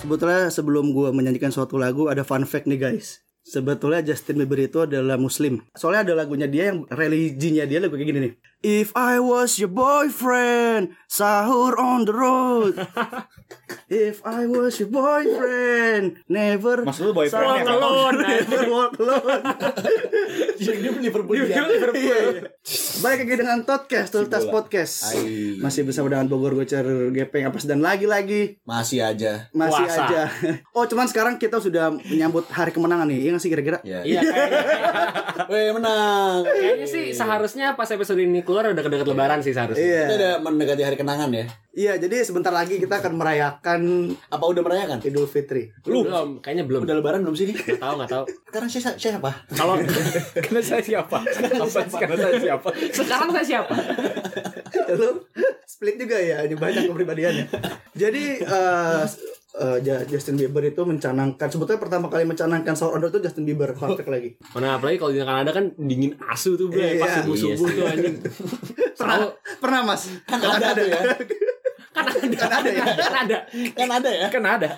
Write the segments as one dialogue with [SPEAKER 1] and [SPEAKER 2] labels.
[SPEAKER 1] sebetulnya sebelum gue menyanyikan suatu lagu ada fun fact nih guys. Sebetulnya Justin Bieber itu adalah muslim. Soalnya ada lagunya dia yang religinya dia lagu kayak gini nih. If I was your boyfriend, sahur on the road. If I was your boyfriend, never
[SPEAKER 2] Maksud lu boyfriend
[SPEAKER 1] walk
[SPEAKER 2] ya, Kak?
[SPEAKER 1] alone, never walk alone.
[SPEAKER 3] Dia Liverpool
[SPEAKER 2] Dia
[SPEAKER 3] dia.
[SPEAKER 2] Liverpool.
[SPEAKER 1] Iya, iya. Baik lagi dengan Todcast, Tultas
[SPEAKER 2] bola.
[SPEAKER 1] Podcast.
[SPEAKER 3] Ai.
[SPEAKER 1] Masih bersama dengan Bogor Gocer Gepeng Apes dan lagi-lagi
[SPEAKER 3] Masih aja.
[SPEAKER 1] masih
[SPEAKER 2] Puasa.
[SPEAKER 1] aja. Oh, cuman sekarang kita sudah menyambut hari kemenangan nih. Iya nggak sih kira-kira?
[SPEAKER 3] Ya.
[SPEAKER 2] Iya kayaknya.
[SPEAKER 3] Weh menang.
[SPEAKER 2] Kayaknya sih seharusnya pas episode ini keluar udah deket lebaran sih seharusnya.
[SPEAKER 3] Kita
[SPEAKER 1] Iya.
[SPEAKER 3] udah mendekati hari kenangan ya.
[SPEAKER 1] Iya, jadi sebentar lagi kita akan merayakan
[SPEAKER 3] Apa udah merayakan?
[SPEAKER 1] Idul Fitri.
[SPEAKER 3] Lu
[SPEAKER 2] Belum, kayaknya belum.
[SPEAKER 3] udah lebaran belum sih? Ki?
[SPEAKER 2] Gak tahu, gak tahu.
[SPEAKER 3] Sekarang saya, saya siapa?
[SPEAKER 2] Kalau
[SPEAKER 4] Karena saya siapa? Apa sih karena saya siapa?
[SPEAKER 2] sekarang saya siapa?
[SPEAKER 1] Lu split juga ya, ini banyak kepribadiannya. Jadi eh, eh, Ja- Justin Bieber itu mencanangkan sebetulnya pertama kali mencanangkan sahur on the road itu Justin Bieber fun fact lagi.
[SPEAKER 2] Mana apalagi kalau di Kanada kan dingin asu tuh, bro.
[SPEAKER 1] Iya.
[SPEAKER 2] Pas subuh-subuh tuh anjing.
[SPEAKER 1] Pernah, pernah Mas.
[SPEAKER 3] Kan ada tuh ya.
[SPEAKER 2] Kan ada.
[SPEAKER 1] Kan ada ya?
[SPEAKER 2] Kan ada.
[SPEAKER 3] Kan ada ya.
[SPEAKER 4] Kan ada.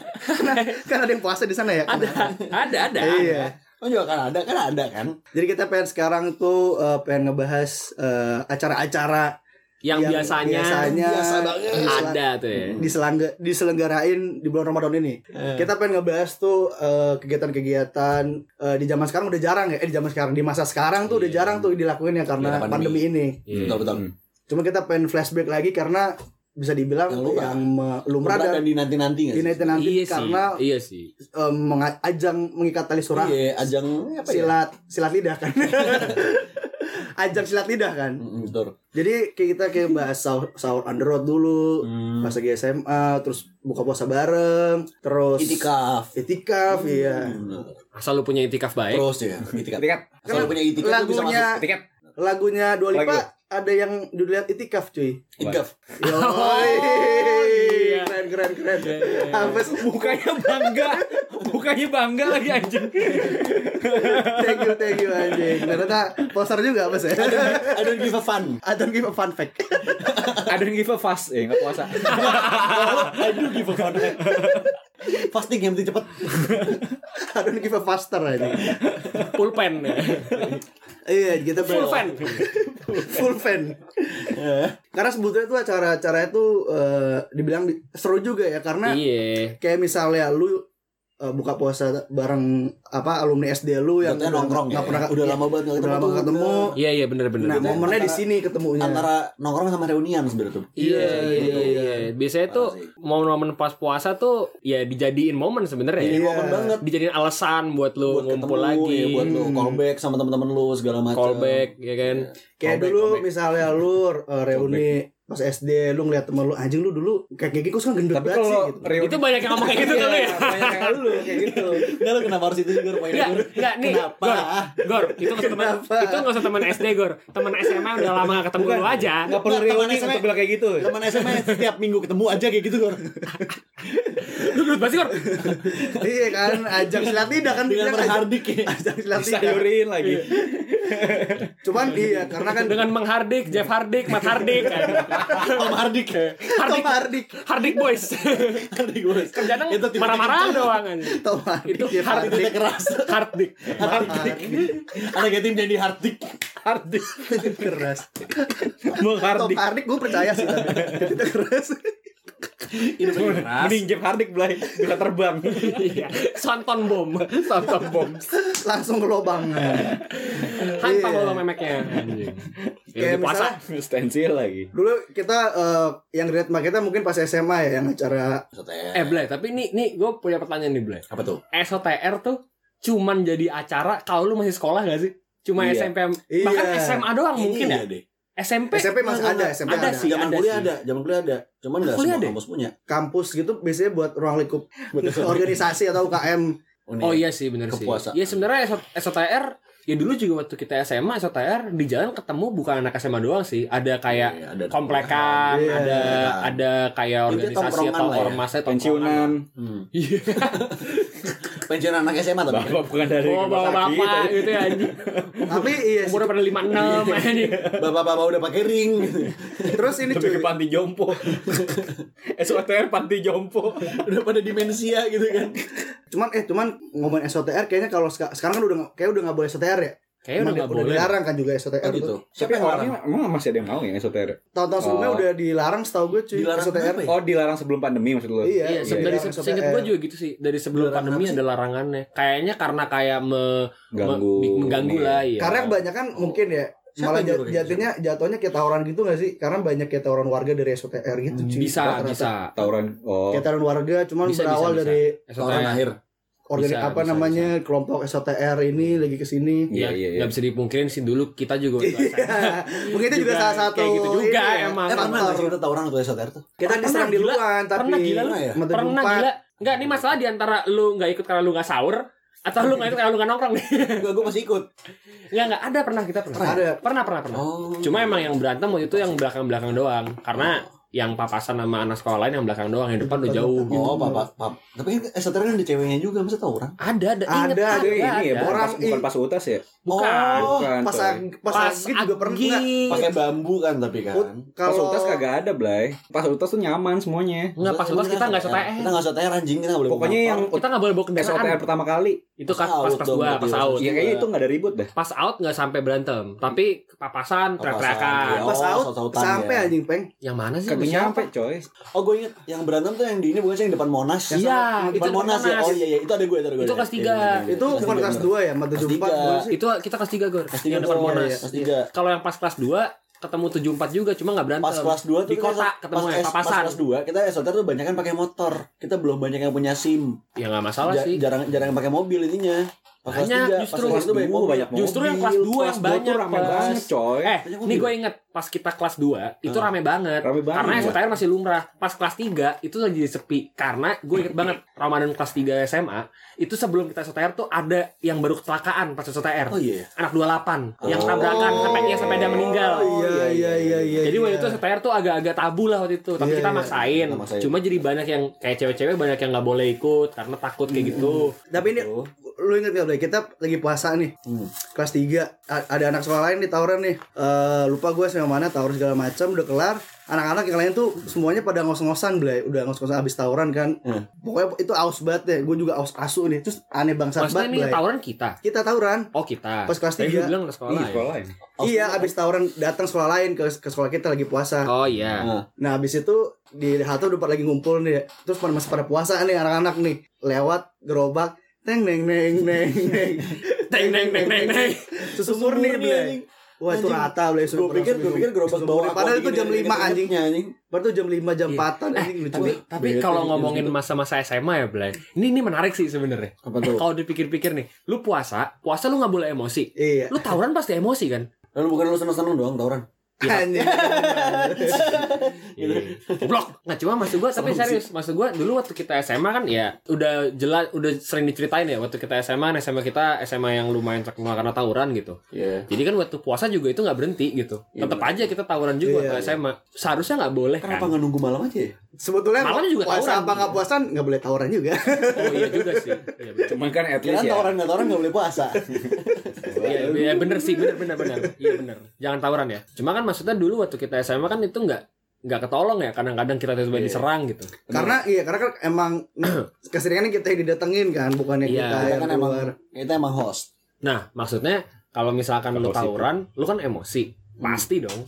[SPEAKER 1] kan ada yang puasa di sana ya?
[SPEAKER 2] Ada. Ada, ada.
[SPEAKER 1] Iya.
[SPEAKER 3] Oh juga kan ada, kan ada kan.
[SPEAKER 1] Jadi kita pengen sekarang tuh eh, pengen ngebahas eh, acara-acara
[SPEAKER 2] Yang biasanya
[SPEAKER 1] biasanya
[SPEAKER 3] Biasa banget.
[SPEAKER 1] disela-
[SPEAKER 2] ada tuh ya.
[SPEAKER 1] diselangga- diselenggarain di bulan Ramadan ini.
[SPEAKER 3] Eh.
[SPEAKER 1] Kita pengen ngebahas tuh eh, kegiatan-kegiatan eh, di zaman sekarang udah jarang ya. Eh di zaman sekarang di masa sekarang tuh udah
[SPEAKER 3] Iya.
[SPEAKER 1] jarang tuh dilakuin ya karena
[SPEAKER 3] Karena
[SPEAKER 1] pandemi.
[SPEAKER 3] pandemi.
[SPEAKER 1] ini.
[SPEAKER 2] Iya.
[SPEAKER 3] Betul betul.
[SPEAKER 1] Cuma kita pengen flashback lagi karena bisa dibilang
[SPEAKER 3] Yang
[SPEAKER 1] yang,
[SPEAKER 3] lumrah.
[SPEAKER 1] me- lumrah dan
[SPEAKER 3] Lumrah dan dinanti nanti nggak? sih?
[SPEAKER 1] dinaikin nanti
[SPEAKER 2] Iya sih.
[SPEAKER 1] karena
[SPEAKER 2] Iya sih.
[SPEAKER 1] eh, menga- ajang mengikat tali surah
[SPEAKER 3] Iya, ajang apa ya?
[SPEAKER 1] silat silat lidah kan. ajang silat lidah kan.
[SPEAKER 3] Mm, Betul.
[SPEAKER 1] Jadi kayak kita kayak bahas sahur, sahur on the road dulu,
[SPEAKER 2] Hmm.
[SPEAKER 1] pas lagi SMA, terus buka puasa bareng, terus
[SPEAKER 3] Itikaf.
[SPEAKER 1] itikaf, iya.
[SPEAKER 3] Hmm.
[SPEAKER 2] Asal lu punya itikaf baik.
[SPEAKER 3] Terus ya, itikaf.
[SPEAKER 4] Tiket,
[SPEAKER 3] Kalau punya itikaf tuh bisa
[SPEAKER 1] lagunya
[SPEAKER 3] masuk.
[SPEAKER 4] tiket.
[SPEAKER 1] lagunya Dua Lipa
[SPEAKER 4] Lagu.
[SPEAKER 1] ada yang judulnya itikaf cuy.
[SPEAKER 3] Itikaf.
[SPEAKER 1] Yoi.
[SPEAKER 2] Oh, iya.
[SPEAKER 1] keren keren keren. Habis
[SPEAKER 4] Bukannya bangga, bukannya bangga lagi anjing.
[SPEAKER 1] thank you thank you anjing. Ternyata poster juga apa sih?
[SPEAKER 3] I don't give a fun.
[SPEAKER 1] I don't give a fun fact.
[SPEAKER 4] I don't give a fast, eh nggak puasa.
[SPEAKER 3] I do give a fun. Fasting yang penting cepet.
[SPEAKER 1] I don't give a faster anjing.
[SPEAKER 2] Pulpen.
[SPEAKER 1] Iya, kita
[SPEAKER 2] Full
[SPEAKER 1] pengen-
[SPEAKER 2] fan.
[SPEAKER 1] full fan. Karena sebetulnya tuh acara-acaranya tuh eh, dibilang di- seru juga ya
[SPEAKER 4] Nah.
[SPEAKER 1] karena
[SPEAKER 2] Iya.
[SPEAKER 1] kayak misalnya lu eh, buka puasa bareng apa alumni SD lu yang
[SPEAKER 3] Yang nongkrong ya.
[SPEAKER 1] nggak pernah iya,
[SPEAKER 3] udah lama banget nggak
[SPEAKER 1] udah lama nggak ketemu.
[SPEAKER 2] Iya, iya bener-bener.
[SPEAKER 1] Nah,
[SPEAKER 3] Itu
[SPEAKER 1] momennya di
[SPEAKER 3] antara-
[SPEAKER 1] sini ketemunya.
[SPEAKER 3] Antara nongkrong sama reunian sebenarnya tuh.
[SPEAKER 2] Iya,
[SPEAKER 1] Iya,
[SPEAKER 2] iya,
[SPEAKER 1] iya.
[SPEAKER 2] iya. Biasanya tuh
[SPEAKER 3] Parah sih.
[SPEAKER 2] momen-momen pas puasa tuh ya dijadiin momen
[SPEAKER 3] Ini
[SPEAKER 2] sebenarnya. ya.
[SPEAKER 1] Iya.
[SPEAKER 3] momen banget
[SPEAKER 2] Dijadiin alasan buat lu
[SPEAKER 3] buat
[SPEAKER 2] ngumpul
[SPEAKER 3] ketemu
[SPEAKER 2] lagi,
[SPEAKER 4] iya,
[SPEAKER 3] ya, buat lu
[SPEAKER 1] Hmm.
[SPEAKER 3] callback sama teman-teman lu segala macam.
[SPEAKER 2] iya. callback ya kan.
[SPEAKER 4] Iya.
[SPEAKER 1] kayak
[SPEAKER 3] Callback,
[SPEAKER 1] dulu
[SPEAKER 3] callback.
[SPEAKER 1] misalnya lu eh, reuni pas SD lu ngeliat temen lu anjing lu dulu kayak gigi kok sekarang gendut
[SPEAKER 4] Tapi
[SPEAKER 1] banget sih
[SPEAKER 4] kalau
[SPEAKER 1] gitu.
[SPEAKER 4] reuni
[SPEAKER 2] Itu banyak yang ngomong kayak gitu kali
[SPEAKER 4] Iya,
[SPEAKER 2] ya.
[SPEAKER 4] banyak yang lu kayak gitu.
[SPEAKER 3] Enggak lu kenapa harus itu juga poinnya
[SPEAKER 2] Enggak,
[SPEAKER 3] Gur?
[SPEAKER 2] enggak nih.
[SPEAKER 3] Kenapa?
[SPEAKER 2] Gor, Gor, itu nggak usah teman
[SPEAKER 1] Kenapa?
[SPEAKER 2] itu nggak usah teman SD, Gor. Teman SMA udah lama gak ketemu lu aja.
[SPEAKER 4] Nggak perlu
[SPEAKER 3] Nggak, teman
[SPEAKER 4] reuni
[SPEAKER 3] SMA.
[SPEAKER 4] untuk bilang kayak gitu.
[SPEAKER 3] Teman SMA setiap minggu ketemu aja kayak gitu Gor.
[SPEAKER 2] Lu gendut banget sih, Gor.
[SPEAKER 1] iya kan ajang silat lidah kan
[SPEAKER 3] Dengan
[SPEAKER 1] bilang ajang,
[SPEAKER 3] berhardik ya.
[SPEAKER 1] ajang silat lidah
[SPEAKER 4] Disayurin lagi.
[SPEAKER 2] Iya.
[SPEAKER 1] cuman iya karena kan
[SPEAKER 2] Dengan Mang Hardik, Jeff Hardik, Mat Hardik.
[SPEAKER 3] Tom Hardik. ya.
[SPEAKER 1] Tom Hardik
[SPEAKER 2] Hardik Boys.
[SPEAKER 3] Hardik bos.
[SPEAKER 2] Kerjaan
[SPEAKER 3] Itu tipe-
[SPEAKER 2] marah-marah doang kan.
[SPEAKER 1] Tom Hardik
[SPEAKER 2] Itu
[SPEAKER 1] Jeff
[SPEAKER 2] Hardik.
[SPEAKER 3] Tipe keras.
[SPEAKER 2] Hardik.
[SPEAKER 3] Hardik. Anak yatim jadi Hardik.
[SPEAKER 4] Hardik,
[SPEAKER 1] Titik keras.
[SPEAKER 4] Bang
[SPEAKER 1] Tom
[SPEAKER 4] Hardik.
[SPEAKER 1] Hardik gue percaya sih tapi titik keras.
[SPEAKER 3] Ini keras.
[SPEAKER 4] Mending Jeff Hardik belai bisa terbang.
[SPEAKER 2] Iya. Sonton bom.
[SPEAKER 4] Santam bom.
[SPEAKER 1] Langsung ke lubang.
[SPEAKER 2] Hantam
[SPEAKER 1] Iya.
[SPEAKER 2] lo memeknya. Anjing.
[SPEAKER 1] Kayak
[SPEAKER 2] Ya, di puasa.
[SPEAKER 1] misalnya
[SPEAKER 4] Stensil lagi.
[SPEAKER 1] dulu kita eh, yang relate sama kita mungkin pas SMA ya yang acara
[SPEAKER 2] Eh, Blay, tapi nih nih gue punya pertanyaan nih, Blay.
[SPEAKER 3] apa tuh?
[SPEAKER 2] SOTR tuh cuman jadi acara kalau lu masih sekolah gak sih? Cuma
[SPEAKER 4] Iya.
[SPEAKER 2] SMP
[SPEAKER 1] Iya.
[SPEAKER 2] bahkan SMA doang mungkin ya.
[SPEAKER 3] Iya deh.
[SPEAKER 2] SMP
[SPEAKER 1] SMP masih
[SPEAKER 3] Nggak,
[SPEAKER 1] ada
[SPEAKER 3] nggak.
[SPEAKER 1] SMP
[SPEAKER 2] Ada
[SPEAKER 1] ada,
[SPEAKER 2] sih.
[SPEAKER 3] Zaman kuliah
[SPEAKER 2] sih.
[SPEAKER 3] ada, zaman kuliah ada. Cuman enggak semua
[SPEAKER 2] Kuliah ada?
[SPEAKER 3] kampus punya.
[SPEAKER 1] kampus gitu biasanya buat ruang lingkup organisasi atau UKM
[SPEAKER 2] Oh iya sih bener sih.
[SPEAKER 3] Kepuasaan.
[SPEAKER 2] Ya sebenarnya SO- SOTR ya dulu juga waktu kita SMA SOTR di jalan ketemu bukan anak SMA doang sih. Ada kayak
[SPEAKER 3] Iya, ada
[SPEAKER 2] komplekan,
[SPEAKER 1] Iya.
[SPEAKER 2] ada ada kayak
[SPEAKER 3] Itu
[SPEAKER 2] organisasi
[SPEAKER 3] tongkrongan
[SPEAKER 2] atau Iya.
[SPEAKER 3] lah ya.
[SPEAKER 2] ormasnya tongkrongan.
[SPEAKER 4] Pensiunan.
[SPEAKER 3] Hmm.
[SPEAKER 2] Iya.
[SPEAKER 3] pensiun anak SMA tapi
[SPEAKER 5] Bapak bukan dari
[SPEAKER 2] Oh,
[SPEAKER 5] rumah sakit.
[SPEAKER 2] bapak-bapak gitu ya anjing.
[SPEAKER 1] Tapi iya sih.
[SPEAKER 2] Umurnya pada 56 anjing.
[SPEAKER 3] bapak-bapak udah pakai ring gitu.
[SPEAKER 1] Terus ini
[SPEAKER 5] Lebih
[SPEAKER 1] cuy.
[SPEAKER 5] ke panti jompo. SOTR panti jompo.
[SPEAKER 3] udah pada dimensia gitu kan
[SPEAKER 1] Cuman eh cuman ngomongin SOTR kayaknya kalau seka- sekarang kan udah nggak- kayak udah nggak boleh SOTR ya.
[SPEAKER 2] Kayaknya udah
[SPEAKER 1] Emang
[SPEAKER 2] enggak
[SPEAKER 1] di-
[SPEAKER 2] boleh.
[SPEAKER 1] dilarang kan juga SOTR
[SPEAKER 3] Oh, gitu.
[SPEAKER 1] tuh.
[SPEAKER 5] Tapi
[SPEAKER 3] Siapa yang larang?
[SPEAKER 5] orangnya emang masih ada yang mau ya SOTR?
[SPEAKER 1] Tahun-tahun sebelumnya
[SPEAKER 5] Oh.
[SPEAKER 1] udah dilarang setahu gue cuy
[SPEAKER 3] Dilarang
[SPEAKER 1] SOTR.
[SPEAKER 3] kenapa ya?
[SPEAKER 5] Oh, dilarang sebelum pandemi maksud lu?
[SPEAKER 1] Iya,
[SPEAKER 2] Iya,
[SPEAKER 1] iya,
[SPEAKER 2] se- dari
[SPEAKER 1] dilarang
[SPEAKER 2] se- seinget
[SPEAKER 1] SOTR.
[SPEAKER 2] gue juga gitu sih. Dari sebelum
[SPEAKER 3] Dilarang
[SPEAKER 2] pandemi
[SPEAKER 3] apa sih?
[SPEAKER 2] ada larangannya. Kayaknya karena kayak me, me-
[SPEAKER 5] Ganggu.
[SPEAKER 2] di- mengganggu
[SPEAKER 5] Iya.
[SPEAKER 2] lah ya.
[SPEAKER 1] Karena kebanyakan mungkin ya malah
[SPEAKER 3] Siapa yang
[SPEAKER 1] jat-
[SPEAKER 3] nyuruh kayak gitu?
[SPEAKER 1] jatuhnya jatuhnya kayak tawuran gitu gak sih? Karena banyak kayak tawuran warga dari SOTR gitu cuy.
[SPEAKER 2] Hmm, bisa
[SPEAKER 1] Rata-rata.
[SPEAKER 2] bisa.
[SPEAKER 5] Tawuran. Oh.
[SPEAKER 1] Kayak tawuran warga cuman
[SPEAKER 2] Bisa, bisa,
[SPEAKER 1] berawal
[SPEAKER 2] bisa.
[SPEAKER 1] dari
[SPEAKER 3] gitu? Orang
[SPEAKER 2] SOTR
[SPEAKER 3] akhir
[SPEAKER 1] organik
[SPEAKER 2] Bisa,
[SPEAKER 1] apa
[SPEAKER 2] bisa,
[SPEAKER 1] namanya kelompok SOTR ini lagi ke sini.
[SPEAKER 2] Ya,
[SPEAKER 5] Iya, iya, iya.
[SPEAKER 2] nggak bisa dipungkirin sih dulu kita juga waktu SMA.
[SPEAKER 1] Iya. Mungkin itu juga
[SPEAKER 2] Juga
[SPEAKER 1] salah satu
[SPEAKER 2] kayak gitu juga
[SPEAKER 1] ini ya,
[SPEAKER 2] emang.
[SPEAKER 3] Eh pernah
[SPEAKER 1] faktor.
[SPEAKER 3] nggak sih kita tawuran atau SOTR tuh?
[SPEAKER 1] Kita
[SPEAKER 2] Pernah,
[SPEAKER 1] diserang di
[SPEAKER 2] gila.
[SPEAKER 1] luar tapi
[SPEAKER 2] Pernah, gila,
[SPEAKER 3] lu.
[SPEAKER 1] ya? Menteri
[SPEAKER 2] Pernah
[SPEAKER 1] empat.
[SPEAKER 2] gila. Enggak, ini masalah di antara lu nggak ikut karena lu nggak sahur atau lu nggak ikut karena lu nggak nongkrong nih.
[SPEAKER 3] Enggak, gue masih ikut
[SPEAKER 2] Enggak, enggak ada pernah kita pernah.
[SPEAKER 1] Ada.
[SPEAKER 2] Pernah, pernah, pernah.
[SPEAKER 3] Oh
[SPEAKER 2] Cuma emang yang berantem waktu itu yang belakang-belakang doang karena yang papasan sama anak sekolah lain yang belakang doang yang depan udah jauh gitu.
[SPEAKER 3] Oh, papa, papa. Tapi kan SOTR kan ada ceweknya juga, masa tawuran?
[SPEAKER 2] Ada, ada, ingat,
[SPEAKER 1] Ada,
[SPEAKER 5] Itu ini ya,
[SPEAKER 2] ada.
[SPEAKER 5] bukan
[SPEAKER 1] Orang
[SPEAKER 5] pas, bukan
[SPEAKER 1] i-
[SPEAKER 5] pas utas ya?
[SPEAKER 2] Bukan.
[SPEAKER 3] Oh,
[SPEAKER 5] Bukan.
[SPEAKER 1] Pas
[SPEAKER 5] coy.
[SPEAKER 1] ag- pas agi juga pernah
[SPEAKER 2] Agi.
[SPEAKER 1] enggak?
[SPEAKER 3] pakai bambu kan tapi kan.
[SPEAKER 1] Put,
[SPEAKER 5] Pas
[SPEAKER 1] Kalau
[SPEAKER 5] utas kagak ada, Blay. Pas utas tuh nyaman semuanya.
[SPEAKER 2] Enggak pas pas kita enggak SOTR.
[SPEAKER 3] Kita enggak SOTR anjing, kita enggak boleh.
[SPEAKER 5] Pokoknya yang
[SPEAKER 2] Kita enggak boleh bawa kendaraan.
[SPEAKER 5] SOTR pertama kali.
[SPEAKER 2] Itu kan
[SPEAKER 3] Pas
[SPEAKER 2] pas
[SPEAKER 3] out
[SPEAKER 2] pas
[SPEAKER 3] dong,
[SPEAKER 2] gua
[SPEAKER 3] berarti
[SPEAKER 2] pas
[SPEAKER 3] ya.
[SPEAKER 2] out.
[SPEAKER 5] Ya kayaknya itu nggak ada ribut dah.
[SPEAKER 2] Pas out enggak sampai berantem, tapi kepapasan teriak-teriakan.
[SPEAKER 3] Papasan,
[SPEAKER 1] pas
[SPEAKER 3] Oh,
[SPEAKER 1] out
[SPEAKER 3] saut-sautan
[SPEAKER 1] sampai
[SPEAKER 3] ya.
[SPEAKER 1] anjing peng.
[SPEAKER 2] Yang mana sih?
[SPEAKER 5] Kagak
[SPEAKER 2] Siapa?
[SPEAKER 5] nyampe, coy.
[SPEAKER 3] Oh, gue inget yang berantem tuh yang di ini bukan sih yang depan Monas?
[SPEAKER 2] Iya,
[SPEAKER 3] Yang
[SPEAKER 2] itu
[SPEAKER 3] depan Monas ya. Oh iya iya, itu ada gue, itu ada gue.
[SPEAKER 2] Itu kelas tiga.
[SPEAKER 1] Itu
[SPEAKER 2] iya,
[SPEAKER 1] bukan kelas 2 ya, mata
[SPEAKER 3] Kelas
[SPEAKER 1] 74
[SPEAKER 3] tiga.
[SPEAKER 1] bukan sih?
[SPEAKER 2] Itu kita kelas 3, Gor.
[SPEAKER 3] Kelas 3
[SPEAKER 2] Yang depan Monas.
[SPEAKER 3] iya, Kelas 3.
[SPEAKER 2] Kalau yang pas kelas 2 ketemu 74 juga cuma enggak berantem.
[SPEAKER 3] Pas kelas kan 2
[SPEAKER 2] di kota ketemu ya, papasan.
[SPEAKER 3] kelas 2 kita SOTR tuh banyak kan pakai motor. Kita belum banyak yang punya SIM.
[SPEAKER 2] Ya enggak masalah
[SPEAKER 3] Ja-
[SPEAKER 2] sih.
[SPEAKER 3] Jarang jarang yang pakai mobil intinya. Pas kelas
[SPEAKER 2] Banyak,
[SPEAKER 3] tiga,
[SPEAKER 2] justru.
[SPEAKER 3] pas kelas itu banyak
[SPEAKER 5] Dulu
[SPEAKER 3] mobil.
[SPEAKER 5] banyak mobil.
[SPEAKER 2] Justru yang kelas 2 yang
[SPEAKER 5] Kelas dua
[SPEAKER 2] banyak
[SPEAKER 5] tuh rame
[SPEAKER 2] pas.
[SPEAKER 5] banget,
[SPEAKER 2] Eh,
[SPEAKER 5] coy.
[SPEAKER 3] Banyak
[SPEAKER 2] nih
[SPEAKER 3] mobil.
[SPEAKER 2] gue inget pas kita kelas 2 itu
[SPEAKER 3] Ah.
[SPEAKER 2] rame banget.
[SPEAKER 5] Rame banget.
[SPEAKER 2] Karena SOTR masih lumrah. Pas kelas 3 itu lagi sepi karena gue inget banget Ramadan kelas 3 SMA itu sebelum kita SOTR tuh ada yang baru kecelakaan pas SOTR.
[SPEAKER 3] Oh iya.
[SPEAKER 2] Anak 28 yang
[SPEAKER 5] Oh.
[SPEAKER 2] tabrakan sampai dia sepeda meninggal.
[SPEAKER 1] Oh, Iya iya iya iya.
[SPEAKER 2] Jadi
[SPEAKER 1] iya.
[SPEAKER 2] waktu itu SPR tuh agak-agak tabu lah waktu itu,
[SPEAKER 1] Iya,
[SPEAKER 2] tapi kita
[SPEAKER 1] iya.
[SPEAKER 2] maksain.
[SPEAKER 3] Kita maksain.
[SPEAKER 2] Cuma jadi banyak yang kayak cewek-cewek banyak yang nggak boleh ikut karena takut kayak
[SPEAKER 1] Hmm,
[SPEAKER 2] gitu.
[SPEAKER 1] Tapi ini lu inget gak Blay? Kita lagi puasa nih.
[SPEAKER 3] Hmm.
[SPEAKER 1] Kelas 3 ada anak sekolah lain nih tawuran nih. Eh lupa gue sama mana tawuran segala macam udah kelar. Anak-anak yang lain tuh semuanya pada ngos-ngosan Blay. Udah ngos-ngosan abis tawuran kan.
[SPEAKER 3] Hmm.
[SPEAKER 1] Pokoknya itu aus banget deh. Gue juga aus asu nih. Terus aneh bangsat
[SPEAKER 2] Maksudnya ini
[SPEAKER 1] banget Blay.
[SPEAKER 2] tawuran kita.
[SPEAKER 1] Kita tawuran
[SPEAKER 2] Oh kita.
[SPEAKER 1] pas kelas
[SPEAKER 2] Tadi lu
[SPEAKER 1] 3.
[SPEAKER 2] bilang ke sekolah.
[SPEAKER 5] Ih,
[SPEAKER 2] ya?
[SPEAKER 5] sekolah ya.
[SPEAKER 1] Iya, abis tawuran datang sekolah lain ke, ke sekolah kita lagi puasa.
[SPEAKER 2] Oh iya.
[SPEAKER 1] Nah habis itu di halte udah pada lagi ngumpul nih Terus pada masih pada puasa nih anak-anak nih Lewat gerobak Neng neng neng neng neng
[SPEAKER 2] Neng neng neng neng neng.
[SPEAKER 1] Sesumur nih Blay Wah itu
[SPEAKER 3] Anjing.
[SPEAKER 1] rata Blay
[SPEAKER 3] Gue pikir gue pikir gerobak bawa aku
[SPEAKER 1] Padahal itu
[SPEAKER 3] gini,
[SPEAKER 1] jam
[SPEAKER 3] gini,
[SPEAKER 1] 5
[SPEAKER 3] gini,
[SPEAKER 1] anjing Eh,
[SPEAKER 3] gini, anjing. Iya,
[SPEAKER 1] Baru tuh Iya. jam 5 jam
[SPEAKER 2] Iya.
[SPEAKER 1] 4 anjing lucu
[SPEAKER 2] Tapi
[SPEAKER 1] banget.
[SPEAKER 2] tapi
[SPEAKER 3] Bete,
[SPEAKER 2] kalau
[SPEAKER 3] bete,
[SPEAKER 2] ngomongin
[SPEAKER 3] bete.
[SPEAKER 2] masa-masa SMA ya, Blay. Ini ini menarik sih sebenarnya.
[SPEAKER 3] Apa tuh?
[SPEAKER 2] Kalau dipikir-pikir nih, lu puasa, puasa lu nggak boleh emosi.
[SPEAKER 1] Iya
[SPEAKER 2] Lu tawuran pasti emosi kan?
[SPEAKER 3] Lalu bukan lu seneng-seneng doang tawuran. Gitu.
[SPEAKER 1] Anjing
[SPEAKER 2] Iya. Blok. Nah cuma maksud gue tapi serius maksud gue dulu waktu kita SMA kan ya udah jelas udah sering diceritain ya waktu kita SMA kan SMA kita SMA yang lumayan terkenal karena tawuran gitu.
[SPEAKER 3] Iya.
[SPEAKER 2] Jadi kan waktu puasa juga itu nggak berhenti gitu.
[SPEAKER 3] Iya,
[SPEAKER 2] Tetap aja kita tawuran juga waktu
[SPEAKER 1] Iya,
[SPEAKER 2] SMA. Seharusnya nggak boleh kan?
[SPEAKER 3] Kenapa nggak nunggu malam aja
[SPEAKER 2] Iya
[SPEAKER 3] ya?
[SPEAKER 1] Sebetulnya
[SPEAKER 2] Malam juga
[SPEAKER 1] puasa
[SPEAKER 2] tawuran.
[SPEAKER 1] apa nggak puasa nggak boleh tawuran juga
[SPEAKER 2] Oh iya juga sih. Iya bener.
[SPEAKER 5] Cuman kan at
[SPEAKER 3] Kira
[SPEAKER 5] least ya.
[SPEAKER 3] tawuran nggak tawuran nggak boleh puasa.
[SPEAKER 2] Iya iya, bener sih bener bener bener. Iya bener. Jangan tawuran ya. Cuma kan maksudnya dulu waktu kita SMA kan itu nggak nggak ketolong ya kadang-kadang kita tiba-tiba
[SPEAKER 3] Iya.
[SPEAKER 2] diserang gitu.
[SPEAKER 1] Karena iya karena kan emang Keseringan kita yang didatengin kan Bukannya
[SPEAKER 2] Iya,
[SPEAKER 1] kita
[SPEAKER 3] kita
[SPEAKER 1] yang
[SPEAKER 3] kan emang
[SPEAKER 1] keluar
[SPEAKER 3] kita emang host.
[SPEAKER 2] Nah, maksudnya kalau misalkan lu
[SPEAKER 5] Emosi.
[SPEAKER 2] tawuran, lu kan emosi.
[SPEAKER 3] Hmm.
[SPEAKER 2] Pasti dong.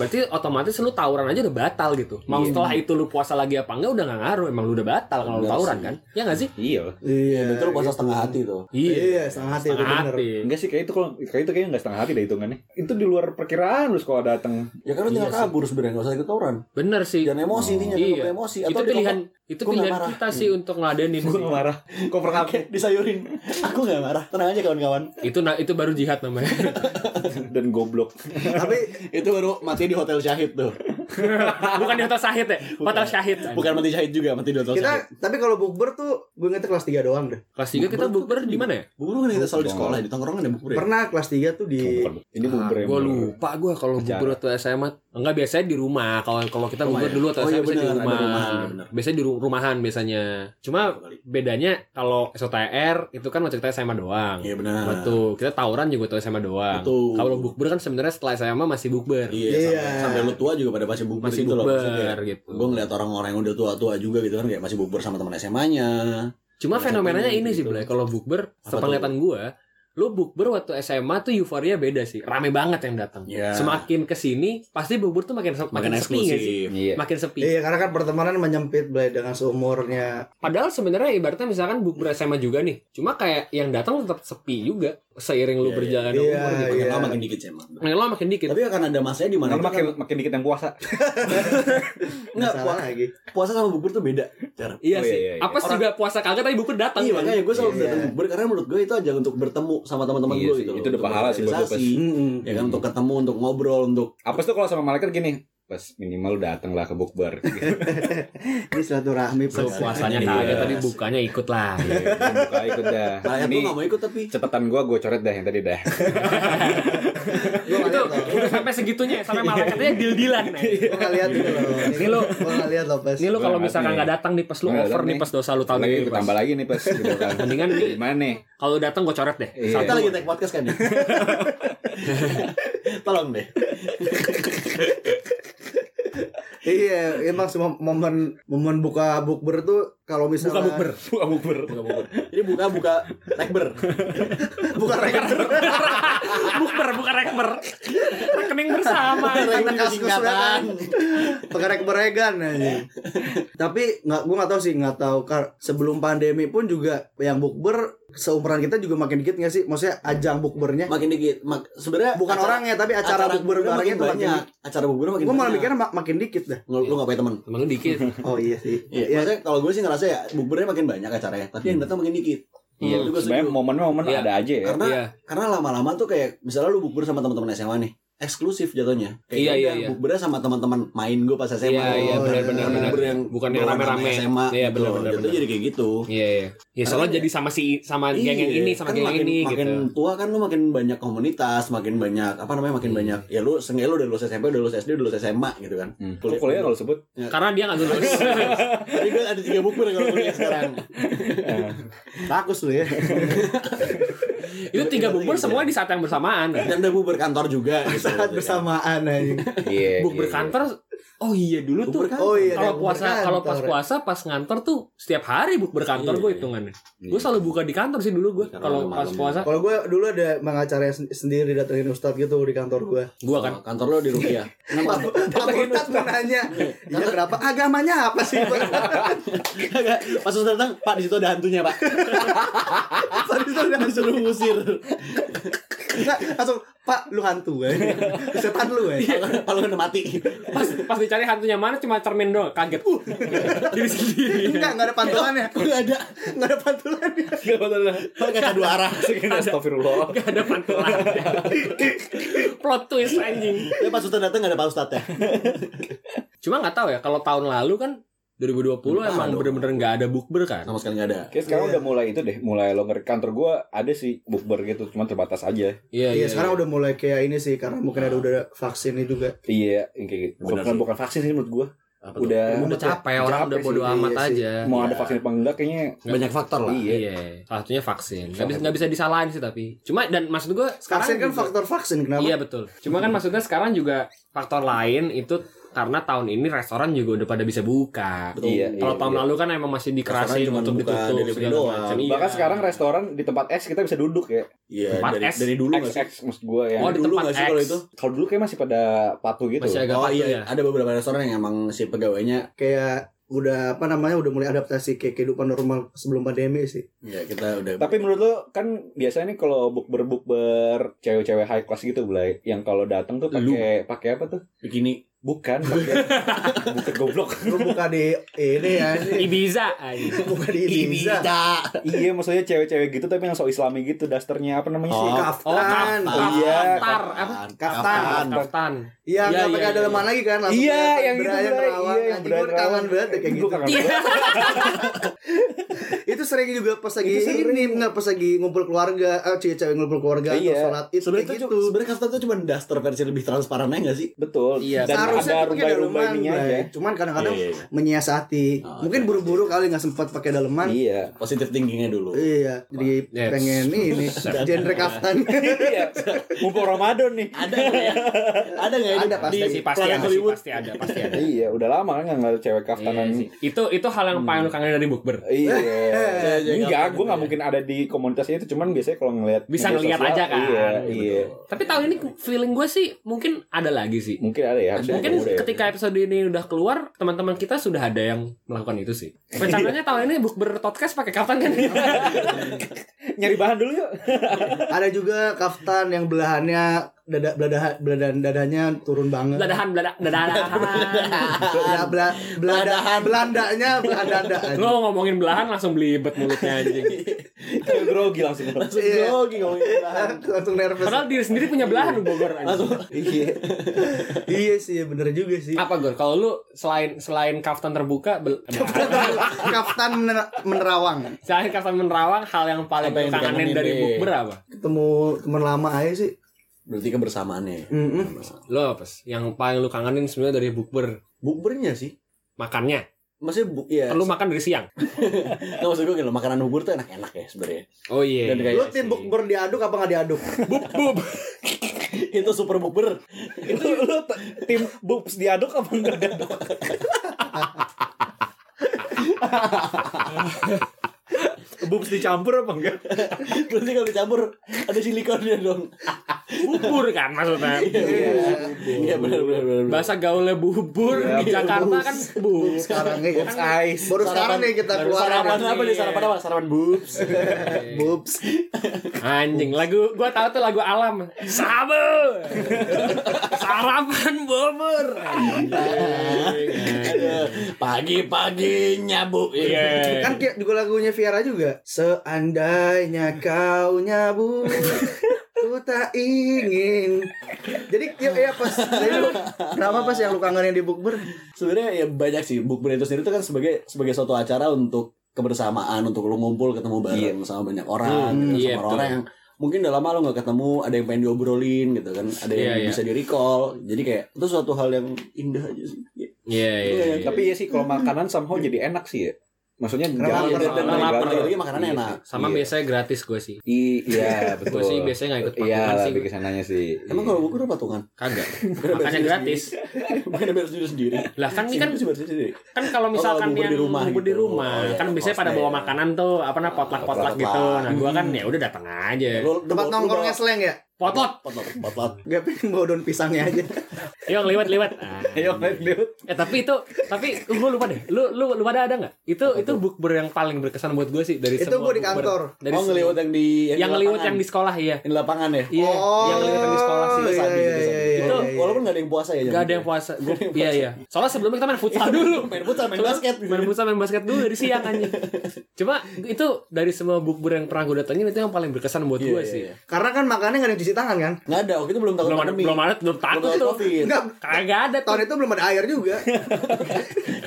[SPEAKER 2] Berarti otomatis lu tawuran aja udah batal gitu.
[SPEAKER 3] Iya.
[SPEAKER 2] Mau setelah itu lu puasa lagi apa enggak udah nggak ngaruh. Emang lu udah batal kalau lu
[SPEAKER 3] Bener
[SPEAKER 2] tawuran
[SPEAKER 3] sih.
[SPEAKER 2] kan? Ya nggak sih?
[SPEAKER 5] Iya.
[SPEAKER 1] Iya
[SPEAKER 3] Itu lu puasa setengah hati tuh.
[SPEAKER 1] Iya, setengah hati,
[SPEAKER 2] Setengah
[SPEAKER 1] bener.
[SPEAKER 2] hati.
[SPEAKER 5] Enggak sih kayak itu kalau kayak itu kayaknya enggak setengah hati deh hitungannya. Itu di luar perkiraan lu sekolah datang.
[SPEAKER 3] Ya kan lu tinggal
[SPEAKER 2] Iya sih.
[SPEAKER 3] kabur sebenarnya nggak usah ikut tawuran.
[SPEAKER 2] Bener sih.
[SPEAKER 3] Jangan emosi intinya,
[SPEAKER 2] Iya.
[SPEAKER 3] jangan emosi.
[SPEAKER 2] Itu
[SPEAKER 3] di-
[SPEAKER 2] pilihan itu
[SPEAKER 3] gua nggak
[SPEAKER 2] pilihan
[SPEAKER 3] marah.
[SPEAKER 2] kita sih untuk ngeladenin.
[SPEAKER 5] Gue
[SPEAKER 2] sih.
[SPEAKER 5] marah. Koper kafe
[SPEAKER 3] Kayak disayurin. Aku nggak marah, tenang aja kawan-kawan.
[SPEAKER 2] Itu nah, itu baru jihad namanya.
[SPEAKER 5] dan goblok.
[SPEAKER 1] Tapi
[SPEAKER 2] iya.
[SPEAKER 3] Itu baru mati di hotel Syahid tuh.
[SPEAKER 2] Bukan di Hotel Sahid ya? Hotel Syahid.
[SPEAKER 3] Bukan mati jahit juga, mati dua tahun.
[SPEAKER 1] Kita tapi kalau bukber tuh gue ngerti kelas 3 doang deh.
[SPEAKER 2] Kelas 3 kita bukber di mana ya?
[SPEAKER 3] Bubur kan kita selalu di sekolah, di tongkrongan ya bubur ya.
[SPEAKER 1] Pernah kelas 3 tuh
[SPEAKER 2] Iya.
[SPEAKER 1] di
[SPEAKER 5] Bukan, bukan. Ini bubur yang
[SPEAKER 2] gue Ah, lupa gue kalau
[SPEAKER 5] Acara.
[SPEAKER 2] bubur atau SMA enggak biasanya di rumah kalau kalau kita
[SPEAKER 3] Rumah
[SPEAKER 2] bubur
[SPEAKER 3] ya?
[SPEAKER 2] dulu atau
[SPEAKER 3] Oh, iya,
[SPEAKER 2] SMA biasanya
[SPEAKER 3] bener,
[SPEAKER 2] di
[SPEAKER 3] ada
[SPEAKER 2] rumah
[SPEAKER 3] rumahan, bener.
[SPEAKER 2] biasanya di ru- rumahan biasanya cuma bedanya kalau SOTR itu kan waktu kita SMA doang
[SPEAKER 3] Iya benar.
[SPEAKER 2] betul kita tawuran juga tuh SMA doang
[SPEAKER 3] Betul.
[SPEAKER 2] kalau bukber kan sebenarnya setelah SMA masih bukber
[SPEAKER 3] Iya,
[SPEAKER 1] Iya.
[SPEAKER 3] sampai- sampai lu tua juga pada masih bubur
[SPEAKER 2] masih
[SPEAKER 3] gitu loh.
[SPEAKER 2] bukber
[SPEAKER 3] maksudnya.
[SPEAKER 2] gitu
[SPEAKER 3] Gue ngeliat orang-orang yang udah tua-tua juga gitu kan kayak masih bubur sama teman SMA-nya.
[SPEAKER 2] cuma
[SPEAKER 3] Macam
[SPEAKER 2] fenomenanya
[SPEAKER 3] ini
[SPEAKER 2] ini sih
[SPEAKER 3] gitu.
[SPEAKER 2] Blay kalau bukber
[SPEAKER 3] Apa
[SPEAKER 2] sepenglihatan gue Lu bukber waktu SMA tuh euforia beda sih. Rame banget yang datang.
[SPEAKER 3] Iya.
[SPEAKER 2] Semakin kesini, pasti bubur tuh makin makin,
[SPEAKER 3] Makin
[SPEAKER 2] sepi nggak sih?
[SPEAKER 3] eksklusif.
[SPEAKER 5] Iya.
[SPEAKER 2] Makin sepi.
[SPEAKER 1] Iya karena kan pertemanan menyempit Blay dengan seumurnya.
[SPEAKER 2] Padahal sebenarnya ibaratnya misalkan bukber SMA juga nih. Cuma kayak yang datang tetap sepi juga seiring lu
[SPEAKER 3] Iya,
[SPEAKER 2] berjalan
[SPEAKER 1] iya.
[SPEAKER 2] umur gitu.
[SPEAKER 3] Makin
[SPEAKER 1] Iya.
[SPEAKER 3] lama makin dikit sih emang.
[SPEAKER 2] Makin lama makin dikit.
[SPEAKER 3] Tapi akan ada masanya
[SPEAKER 2] Nah,
[SPEAKER 3] di mana?
[SPEAKER 5] Karena
[SPEAKER 3] itu
[SPEAKER 5] makin
[SPEAKER 3] kan-
[SPEAKER 5] makin dikit yang puasa.
[SPEAKER 3] Nggak,
[SPEAKER 1] Masalah
[SPEAKER 3] puasa,
[SPEAKER 1] lagi.
[SPEAKER 3] puasa sama bubur tuh beda. Cara.
[SPEAKER 2] Iya
[SPEAKER 5] Oh,
[SPEAKER 2] sih.
[SPEAKER 5] iya, iya, iya.
[SPEAKER 2] Apa sih juga puasa kagak tapi bukber datang.
[SPEAKER 3] Iya
[SPEAKER 2] kan?
[SPEAKER 3] makanya gue selalu
[SPEAKER 1] Iya.
[SPEAKER 3] datang bubur karena menurut gue itu aja untuk bertemu sama teman-teman
[SPEAKER 5] Iya
[SPEAKER 3] gue
[SPEAKER 5] sih,
[SPEAKER 3] gitu. loh.
[SPEAKER 5] itu udah
[SPEAKER 3] Untuk
[SPEAKER 5] pahala sih buat Hmm, gue,
[SPEAKER 3] bersosialisasi, Ya kan untuk ketemu, untuk ngobrol, untuk
[SPEAKER 5] Apa tuh kalau sama malaikat gini? Pas minimal lu datang lah ke bukber. Iya,
[SPEAKER 1] Ini silaturahmi
[SPEAKER 2] Lu
[SPEAKER 1] Pak.
[SPEAKER 2] puasanya
[SPEAKER 3] Iya.
[SPEAKER 2] kagak tapi bukanya ikut lah.
[SPEAKER 5] Iya, buka ikut dah.
[SPEAKER 3] Rakyat
[SPEAKER 5] Ini
[SPEAKER 3] tuh gak mau ikut tapi
[SPEAKER 5] cepetan gua gue coret dah yang tadi dah.
[SPEAKER 1] Gue
[SPEAKER 2] itu
[SPEAKER 1] ngeliat loh.
[SPEAKER 2] udah sampai segitunya sampai malah katanya deal-dealan. eh.
[SPEAKER 1] Gue ngeliat gitu loh.
[SPEAKER 2] Ini lu-
[SPEAKER 1] Gue ngeliat loh pas.
[SPEAKER 2] Ini lu kalau
[SPEAKER 5] Banget
[SPEAKER 2] misalkan
[SPEAKER 5] nih.
[SPEAKER 2] nggak datang nih pas lu
[SPEAKER 5] Banget
[SPEAKER 2] over
[SPEAKER 5] nih.
[SPEAKER 2] nih pas dosa lu tahun
[SPEAKER 5] Lagi
[SPEAKER 2] ini.
[SPEAKER 5] ikut
[SPEAKER 2] pas.
[SPEAKER 5] tambah lagi nih pas. gitu kan.
[SPEAKER 2] Mendingan nih
[SPEAKER 5] Gimana nih?
[SPEAKER 2] kalau datang gue coret deh.
[SPEAKER 5] Iya.
[SPEAKER 3] kita lagi take podcast kan ya? Tolong deh.
[SPEAKER 1] Iya, emang semua momen momen buka bukber tuh kalau misalnya
[SPEAKER 2] Buka bukber.
[SPEAKER 5] Buka bukber.
[SPEAKER 3] Ini buka buka tekber.
[SPEAKER 1] bukan rekan
[SPEAKER 2] Ah, Bukber bukan rekber. Rekening bersama.
[SPEAKER 1] Karena
[SPEAKER 3] Ini
[SPEAKER 1] kasus ya kan.
[SPEAKER 3] singkatan.
[SPEAKER 1] pekerek beregan aja. Tapi nggak gue nggak tahu sih nggak tahu Kar- sebelum pandemi pun juga yang bukber seumuran kita juga makin dikit nggak sih? Maksudnya ajang bukbernya
[SPEAKER 3] Makin dikit. Mak sebenarnya
[SPEAKER 1] bukan
[SPEAKER 3] acara-
[SPEAKER 1] orangnya tapi acara, bukber
[SPEAKER 3] buburnya
[SPEAKER 1] barengnya
[SPEAKER 3] makin
[SPEAKER 1] tuh makin
[SPEAKER 3] banyak. Acara bubur makin
[SPEAKER 1] Gue
[SPEAKER 2] Iya.
[SPEAKER 1] malah
[SPEAKER 3] banyak.
[SPEAKER 1] mikirnya mak- makin dikit dah.
[SPEAKER 3] Lu, lu ngapain temen?
[SPEAKER 2] Temen lu dikit.
[SPEAKER 1] Oh iya sih.
[SPEAKER 3] Iya,
[SPEAKER 1] Iya.
[SPEAKER 3] maksudnya kalau gue sih ngerasa ya buburnya makin banyak acaranya, tapi
[SPEAKER 5] Hmm.
[SPEAKER 3] yang datang makin dikit.
[SPEAKER 2] Iya,
[SPEAKER 3] Itu gue
[SPEAKER 5] Sebenarnya
[SPEAKER 3] setuju.
[SPEAKER 5] momen-momen
[SPEAKER 2] Iya.
[SPEAKER 5] ada aja ya.
[SPEAKER 3] Karena
[SPEAKER 2] Iya.
[SPEAKER 3] karena lama-lama tuh kayak misalnya lu bukber sama teman-teman SMA nih, eksklusif jatuhnya. Kayak
[SPEAKER 2] Iya,
[SPEAKER 3] udah
[SPEAKER 2] iya, iya.
[SPEAKER 3] bukbernya sama teman-teman main gue pas SMA.
[SPEAKER 2] Iya, iya,
[SPEAKER 3] Oh,
[SPEAKER 2] benar-benar,
[SPEAKER 3] sama
[SPEAKER 2] benar.
[SPEAKER 3] Bukber yang
[SPEAKER 2] Bukan yang
[SPEAKER 3] bawa nama
[SPEAKER 2] rame-rame.
[SPEAKER 3] SMA.
[SPEAKER 2] Iya,
[SPEAKER 3] gitu.
[SPEAKER 2] benar-benar,
[SPEAKER 3] Jatuhnya
[SPEAKER 2] benar.
[SPEAKER 3] jadi kayak gitu.
[SPEAKER 2] Iya iya. Ya soalnya
[SPEAKER 3] Karena-
[SPEAKER 2] jadi sama si sama
[SPEAKER 3] Iya,
[SPEAKER 2] geng yang ini sama
[SPEAKER 3] kan
[SPEAKER 2] geng yang
[SPEAKER 3] makin,
[SPEAKER 2] ini
[SPEAKER 3] makin
[SPEAKER 2] gitu.
[SPEAKER 3] tua kan lu makin banyak komunitas, makin banyak apa namanya
[SPEAKER 2] Iya.
[SPEAKER 3] makin banyak. Ya lu sengaja lu udah lulus SMP, udah lulus SD, udah lulus SMA gitu kan.
[SPEAKER 5] Hmm. Lu kuliah kalau sebut
[SPEAKER 2] Karena dia nggak lulus.
[SPEAKER 3] Jadi gue ada tiga bukber kalau kuliah sekarang.
[SPEAKER 1] Rakus lu ya.
[SPEAKER 2] itu tiga bubur semua di saat yang bersamaan.
[SPEAKER 3] Dan udah bukber kantor juga. gitu.
[SPEAKER 1] Saat bersamaan aja.
[SPEAKER 5] Iya.
[SPEAKER 2] Bukber
[SPEAKER 5] iya,
[SPEAKER 2] kantor. Oh iya dulu tuh.
[SPEAKER 3] Bukber kantor.
[SPEAKER 1] Oh iya.
[SPEAKER 2] Kalau
[SPEAKER 1] ada
[SPEAKER 2] puasa
[SPEAKER 1] bukber
[SPEAKER 2] kalau pas
[SPEAKER 1] kantor.
[SPEAKER 2] puasa pas ngantor tuh setiap hari bukber kantor
[SPEAKER 3] Iya,
[SPEAKER 2] gue
[SPEAKER 3] iya.
[SPEAKER 2] hitungannya.
[SPEAKER 5] Iya.
[SPEAKER 2] Gue selalu buka di kantor sih dulu gue
[SPEAKER 3] Karena
[SPEAKER 2] kalau pas
[SPEAKER 3] malam-malam.
[SPEAKER 2] puasa.
[SPEAKER 1] Kalau gue dulu ada emang acaranya sen- sendiri datengin ustadz gitu di kantor gue.
[SPEAKER 2] Gue kan
[SPEAKER 3] Oh, kantor lu di Rupiah. Kenapa?
[SPEAKER 1] Pak Ustadz mau nanya, iya kenapa agamanya apa sih? Pak
[SPEAKER 3] Kagak. Pas Ustaz datang, Pak di situ ada hantunya, Pak.
[SPEAKER 1] Ustadz udah
[SPEAKER 3] Disuruh ngusir.
[SPEAKER 1] Enggak, langsung Pak lu hantu ya. Setan lu ya.
[SPEAKER 3] Kalau nggak udah mati.
[SPEAKER 2] pas pas dicari hantunya mana cuma cermin doang kaget. Uh. Diri sendiri.
[SPEAKER 1] Enggak, enggak ada pantulannya.
[SPEAKER 3] Nggak ada.
[SPEAKER 1] Enggak ada pantulannya.
[SPEAKER 3] Pak kaca dua arah.
[SPEAKER 5] iya. Astagfirullah.
[SPEAKER 2] Gak ada pantulan. Plot twist anjing.
[SPEAKER 3] Ya pas Ustaz datang nggak ada Pak Ustaz ya.
[SPEAKER 2] Cuma nggak tahu ya kalau tahun lalu kan 2020
[SPEAKER 3] Ah,
[SPEAKER 2] emang
[SPEAKER 3] dong.
[SPEAKER 2] bener-bener nggak ada bukber kan.
[SPEAKER 3] Sama sekali nggak ada.
[SPEAKER 5] Kayak sekarang
[SPEAKER 2] Iya.
[SPEAKER 5] udah mulai itu deh, mulai longgar kantor gua ada sih bukber gitu, cuman terbatas aja.
[SPEAKER 2] Iya
[SPEAKER 1] Iya, sekarang udah mulai kayak ini sih karena mungkin ada udah vaksin ini juga.
[SPEAKER 5] Iya, yang kayak gitu.
[SPEAKER 3] Benar
[SPEAKER 5] Bukan
[SPEAKER 3] sih.
[SPEAKER 5] bukan vaksin sih menurut gua.
[SPEAKER 3] Apa tuh?
[SPEAKER 5] Udah
[SPEAKER 2] udah capek
[SPEAKER 5] Capek
[SPEAKER 2] orang udah
[SPEAKER 5] sih,
[SPEAKER 2] bodo
[SPEAKER 1] iya
[SPEAKER 2] amat
[SPEAKER 1] sih.
[SPEAKER 2] aja.
[SPEAKER 5] mau
[SPEAKER 3] Iya.
[SPEAKER 5] ada vaksin apa enggak kayaknya
[SPEAKER 3] Banyak faktor lah.
[SPEAKER 5] iya.
[SPEAKER 2] Iya, salah satunya vaksin. Nggak bisa, nggak bisa disalahin sih tapi. Cuma dan maksud gue sekarang
[SPEAKER 1] Vaksin kan
[SPEAKER 2] juga-
[SPEAKER 1] faktor vaksin kenapa?
[SPEAKER 2] Iya betul. Cuma kan maksudnya sekarang juga faktor lain itu karena tahun ini restoran juga udah pada bisa buka.
[SPEAKER 3] Betul.
[SPEAKER 5] Iya, iya.
[SPEAKER 2] Kalau tahun lalu kan emang masih
[SPEAKER 3] Restoran
[SPEAKER 2] dikerasin
[SPEAKER 3] cuma
[SPEAKER 2] untuk
[SPEAKER 3] buka
[SPEAKER 2] ditutup
[SPEAKER 3] delivery
[SPEAKER 2] segala
[SPEAKER 3] doang.
[SPEAKER 2] macam.
[SPEAKER 5] Bahkan
[SPEAKER 2] Iya.
[SPEAKER 5] sekarang restoran di tempat X kita bisa duduk ya.
[SPEAKER 3] Iya,
[SPEAKER 2] Tempat
[SPEAKER 3] dari,
[SPEAKER 2] S.
[SPEAKER 3] dari dulu nggak
[SPEAKER 5] X
[SPEAKER 3] sih?
[SPEAKER 5] X maksud gua ya.
[SPEAKER 2] Oh, di
[SPEAKER 3] dulu
[SPEAKER 2] tempat
[SPEAKER 3] nggak sih kalau
[SPEAKER 2] X.
[SPEAKER 3] itu?
[SPEAKER 5] Kalau dulu kayak masih pada patuh gitu.
[SPEAKER 2] Masih agak
[SPEAKER 3] Oh
[SPEAKER 2] patuh ya.
[SPEAKER 3] iya, ada beberapa restoran yang emang si pegawainya
[SPEAKER 1] Kayak udah apa namanya udah mulai adaptasi ke kehidupan normal sebelum pandemi sih.
[SPEAKER 3] ya kita udah
[SPEAKER 5] Tapi menurut lo kan biasanya nih kalau bukber bukber cewek-cewek high class gitu Blay, yang kalau datang tuh pakai pakai apa tuh?
[SPEAKER 3] bikini
[SPEAKER 5] Bukan, pakai bukan goblok.
[SPEAKER 1] Lu buka di ini ya. ini.
[SPEAKER 2] Ibiza anjing.
[SPEAKER 1] Buka di Ibiza.
[SPEAKER 5] iya, maksudnya cewek-cewek gitu tapi yang sok islami gitu dasternya apa namanya sih?
[SPEAKER 3] Oh.
[SPEAKER 1] Kaftan.
[SPEAKER 3] Oh, kaftan.
[SPEAKER 5] Iya.
[SPEAKER 2] Kaftar, apa?
[SPEAKER 1] Kaftan.
[SPEAKER 2] Kaftan.
[SPEAKER 1] Iya,
[SPEAKER 2] Iya,
[SPEAKER 1] nggak
[SPEAKER 2] iya,
[SPEAKER 1] pakai ada
[SPEAKER 2] iya.
[SPEAKER 1] leman lagi kan? langsung
[SPEAKER 5] Iya,
[SPEAKER 1] kelihatan
[SPEAKER 5] yang gitu,
[SPEAKER 1] Brian
[SPEAKER 5] Bray.
[SPEAKER 1] Terawan.
[SPEAKER 5] Iya,
[SPEAKER 1] Anjing, gua kangen banget deh kayak
[SPEAKER 5] Gua
[SPEAKER 1] gitu.
[SPEAKER 5] kangen
[SPEAKER 2] Iya.
[SPEAKER 5] banget.
[SPEAKER 1] Itu sering juga pas lagi
[SPEAKER 5] Itu sering.
[SPEAKER 1] ini, nggak pas lagi ngumpul keluarga, eh cewek-cewek ngumpul keluarga atau
[SPEAKER 5] Iya.
[SPEAKER 1] sholat itu
[SPEAKER 3] Sebenarnya
[SPEAKER 1] kayak
[SPEAKER 3] itu
[SPEAKER 1] gitu.
[SPEAKER 3] cu- sebenarnya kaftan itu cuma daster versi lebih transparan aja gak sih?
[SPEAKER 5] Betul.
[SPEAKER 2] Iya,
[SPEAKER 5] Dan
[SPEAKER 1] Seharusnya
[SPEAKER 5] ada
[SPEAKER 1] tuh pakai
[SPEAKER 5] rumbai-rumbai
[SPEAKER 1] daleman,
[SPEAKER 5] ininya
[SPEAKER 1] Bray.
[SPEAKER 5] aja.
[SPEAKER 1] Cuman kadang-kadang
[SPEAKER 3] Iya, iya.
[SPEAKER 1] menyiasati.
[SPEAKER 3] Oh,
[SPEAKER 1] Mungkin
[SPEAKER 3] iya.
[SPEAKER 1] buru-buru kali nggak sempat pakai daleman.
[SPEAKER 5] Iya.
[SPEAKER 3] Positif tingginya dulu.
[SPEAKER 1] Iya, jadi
[SPEAKER 2] Yes.
[SPEAKER 1] pengen ini genre kaftan.
[SPEAKER 5] Iya. Mumpung Ramadan nih.
[SPEAKER 3] Ada nggak ya? Ada nggak ya?
[SPEAKER 1] Ada pasti.
[SPEAKER 3] Di-
[SPEAKER 2] Pasti
[SPEAKER 3] Planet
[SPEAKER 2] pasti ada, sih,
[SPEAKER 3] Hollywood.
[SPEAKER 2] pasti ada, pasti ada.
[SPEAKER 5] Iya, udah lama kan nggak ngeliat cewek kaftanan.
[SPEAKER 2] Iya sih. Itu itu hal yang
[SPEAKER 5] Hmm.
[SPEAKER 2] paling lu kangenin dari bukber.
[SPEAKER 5] Iya.
[SPEAKER 3] Iya, iya,
[SPEAKER 5] Enggak, gue nggak
[SPEAKER 3] iya.
[SPEAKER 5] mungkin ada di komunitasnya itu, cuman biasanya kalau ngeliat
[SPEAKER 2] Bisa
[SPEAKER 5] media
[SPEAKER 2] ngeliat
[SPEAKER 5] sosial,
[SPEAKER 2] aja kan.
[SPEAKER 5] Iya,
[SPEAKER 2] Betul.
[SPEAKER 5] iya.
[SPEAKER 2] Tapi tahun ini feeling gue sih mungkin ada lagi sih.
[SPEAKER 5] Mungkin ada ya. harusnya
[SPEAKER 2] Mungkin
[SPEAKER 5] ada ya.
[SPEAKER 2] ketika episode ini udah keluar, teman-teman kita sudah ada yang melakukan itu sih. Rencananya tahun ini bukber podcast pakai kaftan kan?
[SPEAKER 5] nyari bahan dulu yuk.
[SPEAKER 1] ada juga kaftan yang belahannya dada beladah beladan dadanya turun banget.
[SPEAKER 2] Beladahan, belada- beladahan.
[SPEAKER 1] Ya, bela, beladahan belandanya belandanda aja.
[SPEAKER 2] Lo ngomongin belahan langsung belibet mulutnya
[SPEAKER 5] Iya
[SPEAKER 2] anjing.
[SPEAKER 5] Kayak grogi langsung.
[SPEAKER 3] Langsung
[SPEAKER 1] Iya.
[SPEAKER 3] grogi ngomongin belahan.
[SPEAKER 1] langsung nervous
[SPEAKER 2] Padahal diri sendiri punya belahan lu Bogor anjing.
[SPEAKER 5] Iya.
[SPEAKER 1] iya sih bener juga sih
[SPEAKER 2] Apa Gor? Kalau lu selain selain kaftan terbuka, bel-
[SPEAKER 1] kaftan mener- menerawang
[SPEAKER 2] selain kaftan menerawang, hal yang paling
[SPEAKER 3] Apa yang
[SPEAKER 2] kangenin
[SPEAKER 3] dikangenin
[SPEAKER 2] dari
[SPEAKER 3] deh?
[SPEAKER 2] bukber apa?
[SPEAKER 1] ketemu teman lama aja sih
[SPEAKER 3] Berarti kebersamaannya. ya?
[SPEAKER 1] Mm-mm.
[SPEAKER 2] Lo apa? sih? Yang paling lu kangenin sebenarnya dari bukber
[SPEAKER 3] Bukbernya sih.
[SPEAKER 2] makannya.
[SPEAKER 3] Maksudnya bu, ya.
[SPEAKER 2] Perlu makan dari siang.
[SPEAKER 3] Nggak, maksud gue gini, makanan bubur tuh enak-enak ya sebenarnya.
[SPEAKER 2] Oh iya.
[SPEAKER 3] Dan kayak
[SPEAKER 1] lu tim bukber diaduk apa nggak diaduk
[SPEAKER 2] buk buk.
[SPEAKER 3] itu super bukber.
[SPEAKER 5] Itu lu t- tim boobs diaduk apa enggak diaduk? boobs dicampur apa enggak?
[SPEAKER 3] Berarti kalau dicampur ada silikonnya dong.
[SPEAKER 2] bubur kan maksudnya
[SPEAKER 3] Iya benar benar benar. benar.
[SPEAKER 2] bahasa gaulnya bubur
[SPEAKER 5] Iya,
[SPEAKER 2] di Jakarta kan bubur
[SPEAKER 1] sekarang nih
[SPEAKER 5] Boobs ice.
[SPEAKER 1] baru sekarang nih kita keluar
[SPEAKER 3] Sarapan
[SPEAKER 2] nih.
[SPEAKER 3] apa nih? Sarapan apa? Sarapan boobs.
[SPEAKER 1] Boops.
[SPEAKER 2] anjing lagu gua tahu tuh lagu alam sabu sarapan bubur Anjing.
[SPEAKER 1] Iya.
[SPEAKER 3] Aduh, Pagi-pagi nyabuk. Iya.
[SPEAKER 2] Iya.
[SPEAKER 1] kan kayak juga lagunya Viara juga seandainya kau nyabu ku tak ingin jadi ya, ya pas jadi lu, kenapa pas yang lu kangenin di bukber
[SPEAKER 3] Sebenarnya ya banyak sih bukber itu sendiri itu kan sebagai sebagai suatu acara untuk kebersamaan untuk lu ngumpul ketemu bareng sama banyak orang
[SPEAKER 2] Iya. Hmm,
[SPEAKER 3] gitu,
[SPEAKER 2] iya,
[SPEAKER 3] sama
[SPEAKER 2] betul.
[SPEAKER 3] orang yang mungkin udah lama lo nggak ketemu ada yang pengen diobrolin gitu kan ada yang
[SPEAKER 2] Iya, iya.
[SPEAKER 3] bisa di recall jadi kayak itu suatu hal yang indah aja sih
[SPEAKER 2] iya iya iya.
[SPEAKER 5] Tapi ya sih kalau makanan somehow jadi enak sih ya. Maksudnya
[SPEAKER 1] Kenapa?
[SPEAKER 5] jangan
[SPEAKER 1] Iya,
[SPEAKER 5] jangan
[SPEAKER 2] karena
[SPEAKER 5] gagal.
[SPEAKER 2] lapar gitu?
[SPEAKER 3] lagi-lagi gitu, makanannya
[SPEAKER 5] Iya
[SPEAKER 3] enak.
[SPEAKER 5] sih.
[SPEAKER 2] sama
[SPEAKER 5] Iya.
[SPEAKER 2] biasanya gratis gua sih
[SPEAKER 5] I- Iya, betul.
[SPEAKER 2] gua sih biasanya nggak ikut
[SPEAKER 5] Iya,
[SPEAKER 2] patungan sih
[SPEAKER 5] lebih kesananya sih. Iya.
[SPEAKER 3] emang kalau bukber patungan
[SPEAKER 2] kagak makanya gratis
[SPEAKER 3] Bukan bayar sendiri sendiri.
[SPEAKER 2] lah kan ini kan
[SPEAKER 3] Sih, bayar sendiri.
[SPEAKER 2] kan kalau
[SPEAKER 3] Oh,
[SPEAKER 2] misalkan
[SPEAKER 3] bubur
[SPEAKER 2] yang
[SPEAKER 3] di rumah
[SPEAKER 2] bubur di
[SPEAKER 3] gitu.
[SPEAKER 2] rumah
[SPEAKER 3] Oh, iya,
[SPEAKER 2] kan biasanya pada
[SPEAKER 3] hostel.
[SPEAKER 2] bawa makanan tuh apa namanya potlak-potlak
[SPEAKER 3] Potlak.
[SPEAKER 2] gitu nah gua
[SPEAKER 3] Hmm.
[SPEAKER 2] kan ya udah datang aja
[SPEAKER 3] Lu- lu
[SPEAKER 1] tempat
[SPEAKER 3] bawa- lu
[SPEAKER 1] nongkrongnya
[SPEAKER 3] bawa-
[SPEAKER 1] seleng ya
[SPEAKER 2] potlot
[SPEAKER 3] Potlot, potlot.
[SPEAKER 1] Gak pengen bawa daun pisangnya aja
[SPEAKER 2] Yuk lewat-lewat. Ah.
[SPEAKER 3] Iya,
[SPEAKER 5] Ayo, lanjut.
[SPEAKER 2] Eh tapi itu tapi gue lupa deh. Lu lu lu pada ada nggak? Itu itu bukber yang paling berkesan buat gue sih dari
[SPEAKER 1] Itu
[SPEAKER 2] semua
[SPEAKER 1] gue di
[SPEAKER 2] bukber.
[SPEAKER 1] kantor.
[SPEAKER 2] Dari
[SPEAKER 3] oh
[SPEAKER 2] semua-
[SPEAKER 3] ngeliwat yang di
[SPEAKER 2] yang ngeliwat yang di sekolah
[SPEAKER 3] lapangan.
[SPEAKER 2] iya.
[SPEAKER 3] Yang di lapangan ya.
[SPEAKER 2] Iya, yang ngeliwat yang di sekolah
[SPEAKER 1] Oh,
[SPEAKER 2] sih.
[SPEAKER 1] iya,
[SPEAKER 3] Sabi,
[SPEAKER 1] iya,
[SPEAKER 3] gitu,
[SPEAKER 1] iya,
[SPEAKER 3] Sabi.
[SPEAKER 1] iya,
[SPEAKER 2] Itu
[SPEAKER 1] iya.
[SPEAKER 3] Walaupun nggak ada yang puasa ya.
[SPEAKER 2] Gak ada yang puasa. Gua, iya iya. Soalnya sebelumnya kita main futsal dulu.
[SPEAKER 3] Iya, Main futsal, main basket.
[SPEAKER 2] main futsal main basket dulu dari siang anjing. Cuma itu dari semua bukber yang pernah gue datengin itu yang paling berkesan buat
[SPEAKER 3] Iya,
[SPEAKER 2] gue
[SPEAKER 3] iya,
[SPEAKER 2] sih.
[SPEAKER 3] iya.
[SPEAKER 1] Karena kan makannya gak ada yang cuci tangan kan
[SPEAKER 3] Nggak ada. Waktu itu belum takut
[SPEAKER 2] Belum ada belum ada belum takut tuh.
[SPEAKER 3] COVID.
[SPEAKER 1] Enggak
[SPEAKER 2] Kagak ada tuh.
[SPEAKER 1] Tahun itu belum ada air juga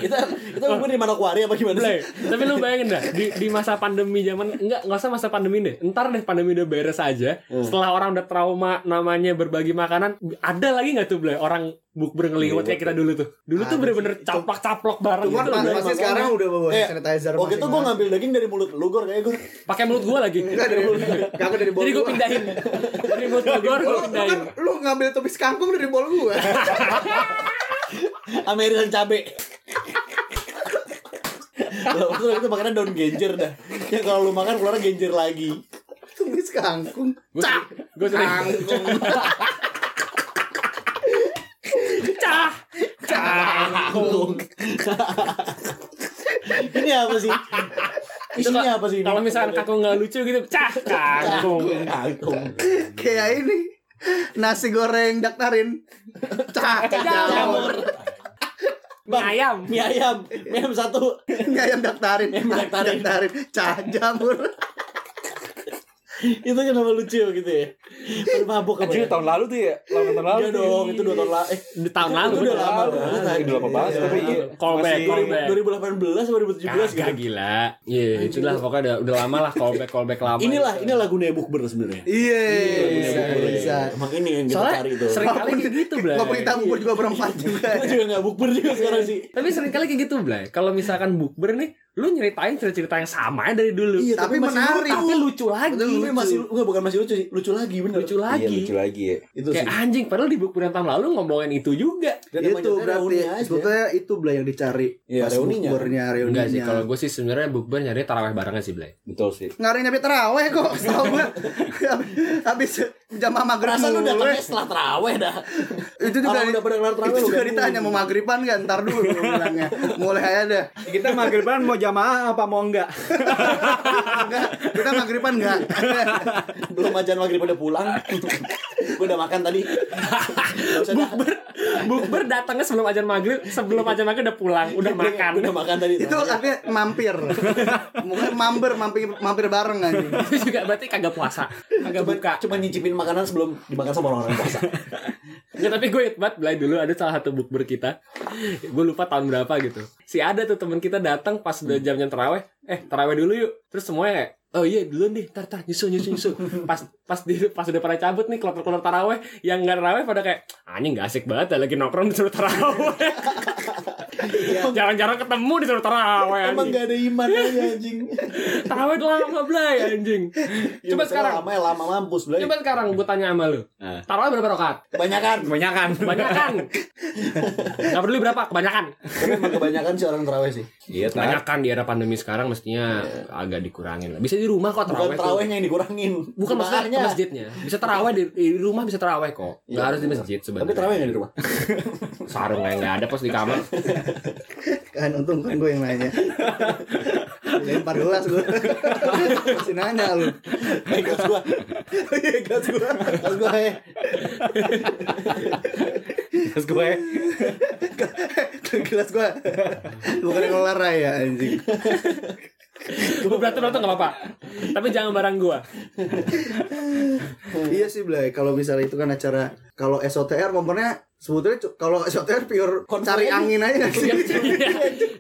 [SPEAKER 3] Kita kita umur di Manokwari apa gimana
[SPEAKER 2] Blay.
[SPEAKER 3] sih?
[SPEAKER 2] Tapi lu bayangin dah di, di masa pandemi zaman enggak enggak usah masa pandemi deh. Ntar deh pandemi udah beres aja. Setelah orang udah trauma namanya berbagi makanan, ada lagi nggak tuh Blay orang bukber ngeliwat kayak kita dulu tuh. Dulu tuh
[SPEAKER 1] Ada
[SPEAKER 2] bener-bener caplok-caplok bareng
[SPEAKER 1] Cuman
[SPEAKER 2] gitu loh,
[SPEAKER 1] pas-
[SPEAKER 2] Blay.
[SPEAKER 1] pasti sekarang udah bawa
[SPEAKER 3] Eh,
[SPEAKER 1] hand sanitizer
[SPEAKER 3] Waktu itu gue
[SPEAKER 1] masing-masing.
[SPEAKER 3] ngambil daging dari mulut lu gor kayak gor.
[SPEAKER 2] Pakai mulut gua lagi.
[SPEAKER 1] Enggak dari Kagak dari bol
[SPEAKER 2] Jadi gua
[SPEAKER 1] gua.
[SPEAKER 2] pindahin. Dari mulut gua
[SPEAKER 1] Lu,
[SPEAKER 2] gua
[SPEAKER 1] lu
[SPEAKER 2] pindahin.
[SPEAKER 1] kan lu ngambil tumis kangkung dari bol gua
[SPEAKER 3] American cabe. Lah waktu itu makanan daun genjer dah. Ya kalau lu makan keluar genjer lagi.
[SPEAKER 1] Tumis kangkung
[SPEAKER 2] Gua
[SPEAKER 1] Cak
[SPEAKER 2] gua sering
[SPEAKER 1] Ah, Kangkung
[SPEAKER 2] cah. Cah.
[SPEAKER 3] Ini apa sih? Ini apa sih? ini?
[SPEAKER 2] Kalau misalkan kakung nggak lucu gitu, cah kangkung.
[SPEAKER 3] Kangkung.
[SPEAKER 1] Kayak ini Nasi goreng daktarin Cah, jamur.
[SPEAKER 2] Mie ayam.
[SPEAKER 3] Mie ayam, mie ayam satu.
[SPEAKER 1] Ini ayam daktarin.
[SPEAKER 3] Ayam daktarin.
[SPEAKER 1] Daktarin. Cah, jamur.
[SPEAKER 3] Itu kenapa lucu gitu ya? Pada mabok apa
[SPEAKER 5] Anjir
[SPEAKER 3] ya?
[SPEAKER 5] tahun lalu tuh ya, lawan tahun lalu.
[SPEAKER 3] Iya dong, itu dua tahun lalu. Eh,
[SPEAKER 2] Di tahun lalu.
[SPEAKER 5] Itu udah
[SPEAKER 3] Udah
[SPEAKER 5] lama
[SPEAKER 3] lama
[SPEAKER 5] banget.
[SPEAKER 3] banget.
[SPEAKER 5] Udah lama banget. Tapi
[SPEAKER 2] Iya.
[SPEAKER 5] iya,
[SPEAKER 2] Callback,
[SPEAKER 5] masih-
[SPEAKER 2] callback.
[SPEAKER 3] 2018 atau 2017 gitu.
[SPEAKER 2] Kagak gila. Iya, itulah pokoknya udah, udah lama lah callback callback lama.
[SPEAKER 3] Inilah, inilah gunanya bukber sebenarnya.
[SPEAKER 1] Iya.
[SPEAKER 3] Gunanya
[SPEAKER 1] bisa,
[SPEAKER 3] bukber ya.
[SPEAKER 1] Bisa.
[SPEAKER 3] Emang ini yang kita
[SPEAKER 2] Soalnya
[SPEAKER 3] cari tuh.
[SPEAKER 2] sering kali
[SPEAKER 1] Walaupun-
[SPEAKER 2] kayak gitu, Blay.
[SPEAKER 1] Walaupun kita bubur juga berempat juga.
[SPEAKER 3] Gue juga gak bukber juga sekarang sih.
[SPEAKER 2] Tapi sering kali kayak gitu, Blay. Kalau misalkan bukber nih, lu nyeritain cerita-cerita yang sama ya dari dulu.
[SPEAKER 3] Iya,
[SPEAKER 1] tapi
[SPEAKER 3] masih
[SPEAKER 1] menarik.
[SPEAKER 3] lucu.
[SPEAKER 2] Tapi lucu lagi.
[SPEAKER 1] Betul,
[SPEAKER 3] Tapi masih enggak bukan masih lucu sih, lucu lagi bener.
[SPEAKER 2] Lucu
[SPEAKER 5] Iya,
[SPEAKER 2] lagi.
[SPEAKER 5] lucu lagi ya.
[SPEAKER 3] Itu sih.
[SPEAKER 2] Kayak anjing, padahal di bukber yang tahun lalu ngomongin itu juga.
[SPEAKER 3] Dan
[SPEAKER 1] itu
[SPEAKER 3] emang
[SPEAKER 1] berarti
[SPEAKER 3] reuni aja.
[SPEAKER 1] sebetulnya itu belah yang dicari
[SPEAKER 3] Iya,
[SPEAKER 1] pas
[SPEAKER 3] reuninya.
[SPEAKER 1] bukbernya
[SPEAKER 2] Enggak sih,
[SPEAKER 1] reuninya
[SPEAKER 2] kalau gue sih sebenarnya bukber nyari taraweh barengnya sih, Blay.
[SPEAKER 5] Betul sih.
[SPEAKER 1] ngaruh nyampe teraweh kok setahu gue habis jamaah maghrib
[SPEAKER 3] Perasaan lu
[SPEAKER 1] mulu,
[SPEAKER 3] datangnya
[SPEAKER 1] eh.
[SPEAKER 3] setelah terawih dah.
[SPEAKER 1] itu juga
[SPEAKER 3] Orang udah pada kelar terawih,
[SPEAKER 1] itu juga
[SPEAKER 3] udah
[SPEAKER 1] ditanya mau maghriban kan ntar dulu gua bilangnya mulai aja deh
[SPEAKER 4] Kita maghriban mau jamaah apa mau enggak?
[SPEAKER 1] enggak kita maghriban enggak
[SPEAKER 3] Belum ajan maghrib udah pulang. Gue udah makan tadi. Nggak usah dah.
[SPEAKER 2] Bukber, bukber datangnya sebelum ajan maghrib, sebelum ajan maghrib udah pulang, udah makan.
[SPEAKER 3] Gua Iya, Udah makan tadi. Iya.
[SPEAKER 1] itu artinya mampir mungkin mampir mampir mampir bareng anjing
[SPEAKER 2] Itu juga berarti kagak puasa, kagak
[SPEAKER 3] Cuma-
[SPEAKER 2] buka.
[SPEAKER 3] Cuma nyicipin makanan sebelum dimakan sama orang-orang puasa.
[SPEAKER 2] Nggak, Ya, tapi gue inget banget Blay dulu ada salah satu bukber kita Gue lupa tahun berapa gitu Si ada tuh temen kita datang pas udah jam jam teraweh Eh teraweh dulu yuk Terus semuanya Oh iya duluan deh Tar tar nyusul nyusul nyusul Pas pas di, pas udah pada cabut nih keluar keluar taraweh Yang nggak taraweh pada kayak Anjing nggak asik banget ya, lagi nongkrong disuruh taraweh Jarang-jarang ketemu disuruh taraweh
[SPEAKER 3] Emang
[SPEAKER 2] anjing.
[SPEAKER 3] gak ada iman aja anjing.
[SPEAKER 2] Taraweh udah lama Blay anjing
[SPEAKER 3] Ya,
[SPEAKER 2] Coba
[SPEAKER 3] makanya
[SPEAKER 2] sekarang
[SPEAKER 3] lama ya lama mampus Blay.
[SPEAKER 2] Coba sekarang gue tanya sama lu
[SPEAKER 5] Ah.
[SPEAKER 2] Taraweh berapa rokat?
[SPEAKER 3] Kebanyakan.
[SPEAKER 4] Kebanyakan.
[SPEAKER 2] Kebanyakan Gak peduli berapa kebanyakan
[SPEAKER 3] Tapi emang kebanyakan sih orang terawih sih.
[SPEAKER 5] Iya,
[SPEAKER 2] Banyak kan di era pandemi sekarang mestinya agak dikurangin lah. Bisa di rumah kok
[SPEAKER 3] Bukan
[SPEAKER 2] terawih. tuh.
[SPEAKER 3] terawihnya yang dikurangin.
[SPEAKER 2] Bukan maksudnya ke
[SPEAKER 3] Jemaahnya.
[SPEAKER 2] masjidnya. Bisa terawih di, di rumah bisa terawih kok. Gak
[SPEAKER 3] Iya,
[SPEAKER 2] harus di
[SPEAKER 3] benar.
[SPEAKER 2] masjid
[SPEAKER 3] Tapi
[SPEAKER 2] sebenarnya.
[SPEAKER 3] terawih gak di rumah?
[SPEAKER 2] Sarung yang nggak ada pas di kamar.
[SPEAKER 1] kan untung kan gue yang nanya lempar gelas gue si nanya lu
[SPEAKER 3] Eh, gas gua. Eh, gas gua. Gas gua, eh.
[SPEAKER 4] Terus gue
[SPEAKER 1] gelas gue bukan yang ngelar ya anjing
[SPEAKER 2] Gue berantem berantem nggak apa-apa. Tapi jangan barang gua.
[SPEAKER 1] Iya sih Blay, kalau misalnya itu kan acara kalau SOTR kompornya sebetulnya cu- kalau SOTR pure
[SPEAKER 3] Konvoy
[SPEAKER 1] cari
[SPEAKER 3] aja.
[SPEAKER 1] angin aja nggak sih.
[SPEAKER 2] Iya,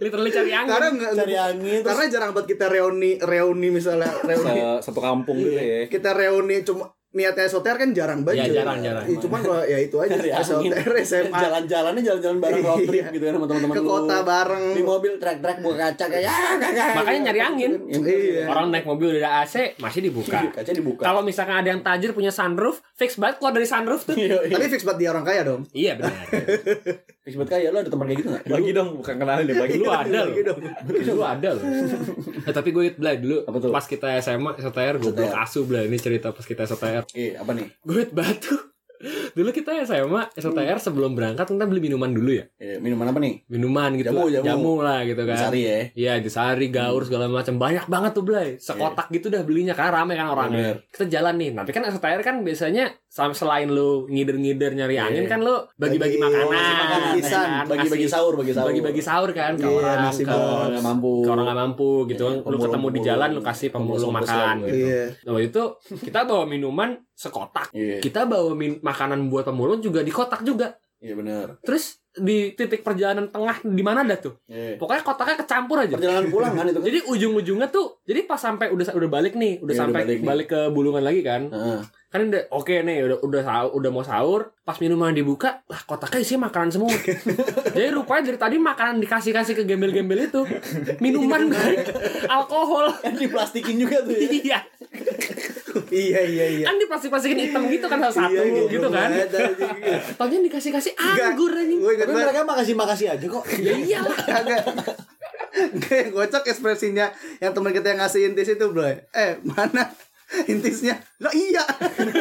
[SPEAKER 2] Literally cari
[SPEAKER 1] karena
[SPEAKER 2] angin.
[SPEAKER 1] nggak
[SPEAKER 3] Cari angin, terus-
[SPEAKER 1] Karena jarang banget kita reuni reuni misalnya reuni
[SPEAKER 5] Se- Satu kampung gitu ya.
[SPEAKER 1] kita reuni cuma niatnya SOTR kan jarang banget.
[SPEAKER 2] Iya,
[SPEAKER 1] cuy.
[SPEAKER 2] jarang, jarang.
[SPEAKER 1] Iya, cuman kalau ya itu aja
[SPEAKER 3] Cari angin.
[SPEAKER 1] SOTR SMA
[SPEAKER 3] Jalan-jalannya jalan-jalan bareng road trip gitu kan sama teman-teman
[SPEAKER 1] ke
[SPEAKER 3] lu.
[SPEAKER 1] kota bareng.
[SPEAKER 3] Di mobil trek-trek buka kaca kayak ya, kagak.
[SPEAKER 2] Makanya nyari angin.
[SPEAKER 1] Iya.
[SPEAKER 2] Orang naik mobil udah ada AC masih dibuka.
[SPEAKER 3] Kaca dibuka.
[SPEAKER 2] Kalau misalkan ada yang tajir punya sunroof, fix banget keluar dari sunroof tuh.
[SPEAKER 3] Iya, iya.
[SPEAKER 1] Tapi fix banget dia orang kaya dong.
[SPEAKER 2] Iya benar.
[SPEAKER 3] Fix banget kayak lu ada teman kayak gitu
[SPEAKER 2] Iya.
[SPEAKER 3] enggak?
[SPEAKER 5] Bagi dong, bukan kenalin deh, bagi
[SPEAKER 2] Dulu
[SPEAKER 3] Iya,
[SPEAKER 5] lu.
[SPEAKER 2] Eh, ada loh. Dulu ada loh. Eh, tapi gue inget Blay dulu
[SPEAKER 3] Apa tuh?
[SPEAKER 2] pas kita SMA SOTR gue blok asu Blay ini cerita pas kita SOTR.
[SPEAKER 3] Iya, apa nih?
[SPEAKER 2] Gue inget batu. Dulu kita SMA SOTR sebelum berangkat kita beli minuman dulu ya.
[SPEAKER 3] Iya, minuman apa nih?
[SPEAKER 2] Minuman gitu.
[SPEAKER 3] Jamu,
[SPEAKER 2] lah.
[SPEAKER 3] jamu.
[SPEAKER 2] lah gitu kan.
[SPEAKER 3] Sari ya.
[SPEAKER 2] Iya, Desari, Gaur segala macam. Banyak banget tuh, Blay. Sekotak gitu dah belinya karena rame kan orangnya.
[SPEAKER 3] Iya. Bener.
[SPEAKER 2] Kita jalan nih. Tapi kan SOTR kan biasanya sam- selain lu ngider-ngider nyari
[SPEAKER 3] Iya.
[SPEAKER 2] angin kan lu bagi-bagi
[SPEAKER 1] Bagi-
[SPEAKER 2] makanan,
[SPEAKER 1] ngasih makanan,
[SPEAKER 2] ya
[SPEAKER 1] pisan.
[SPEAKER 2] kan?
[SPEAKER 3] oh, Bagi-bagi
[SPEAKER 2] Ngasih-
[SPEAKER 3] sahur, bagi sahur.
[SPEAKER 2] bagi-bagi sahur kan ke
[SPEAKER 1] Iya,
[SPEAKER 2] orang
[SPEAKER 1] nasi
[SPEAKER 2] ke-
[SPEAKER 1] box.
[SPEAKER 3] Kalau nggak mampu.
[SPEAKER 2] ke orang nggak mampu gitu kan lu
[SPEAKER 3] pemulung-
[SPEAKER 2] ketemu di jalan lu
[SPEAKER 3] pemulung.
[SPEAKER 2] kasih
[SPEAKER 3] Pemulung
[SPEAKER 2] pemulung
[SPEAKER 3] sosial,
[SPEAKER 2] makan
[SPEAKER 3] iya.
[SPEAKER 2] gitu.
[SPEAKER 1] Iya.
[SPEAKER 2] Nah, waktu itu kita bawa minuman sekotak.
[SPEAKER 3] Iya.
[SPEAKER 2] Kita bawa min- makanan buat pemulung juga di kotak juga.
[SPEAKER 3] Iya benar.
[SPEAKER 2] Terus di titik perjalanan tengah di mana ada tuh?
[SPEAKER 3] Iya.
[SPEAKER 2] Pokoknya kotaknya kecampur aja.
[SPEAKER 3] Perjalanan pulang kan itu kan?
[SPEAKER 2] Jadi ujung-ujungnya tuh jadi pas sampai udah udah balik nih, udah
[SPEAKER 3] Iya, udah
[SPEAKER 2] sampai
[SPEAKER 3] balik
[SPEAKER 2] balik,
[SPEAKER 3] nih.
[SPEAKER 2] ke bulungan lagi kan.
[SPEAKER 3] Heeh.
[SPEAKER 2] Kan udah oke nih, udah udah sahur, udah mau sahur, pas minuman dibuka, lah kotaknya isinya makanan semua. jadi rupanya dari tadi makanan dikasih-kasih ke gembel-gembel itu minuman Bray. alkohol.
[SPEAKER 3] Kan diplastikin juga tuh ya.
[SPEAKER 2] iya.
[SPEAKER 1] Iya iya iya.
[SPEAKER 2] kan diplastik-plastikin hitam gitu kan satu
[SPEAKER 1] Iya,
[SPEAKER 2] gitu, kan
[SPEAKER 1] banget, anjing.
[SPEAKER 2] Taunya dikasih-kasih
[SPEAKER 1] Enggak,
[SPEAKER 2] anggur anjing
[SPEAKER 1] Gue ingat
[SPEAKER 3] Tapi
[SPEAKER 1] banget.
[SPEAKER 3] mereka makasih-makasih aja kok.
[SPEAKER 2] ya iyalah
[SPEAKER 1] Kagak. Gak yang kocak ekspresinya yang teman kita yang ngasih intis itu, Bro. Eh, mana intisnya? Lo iya.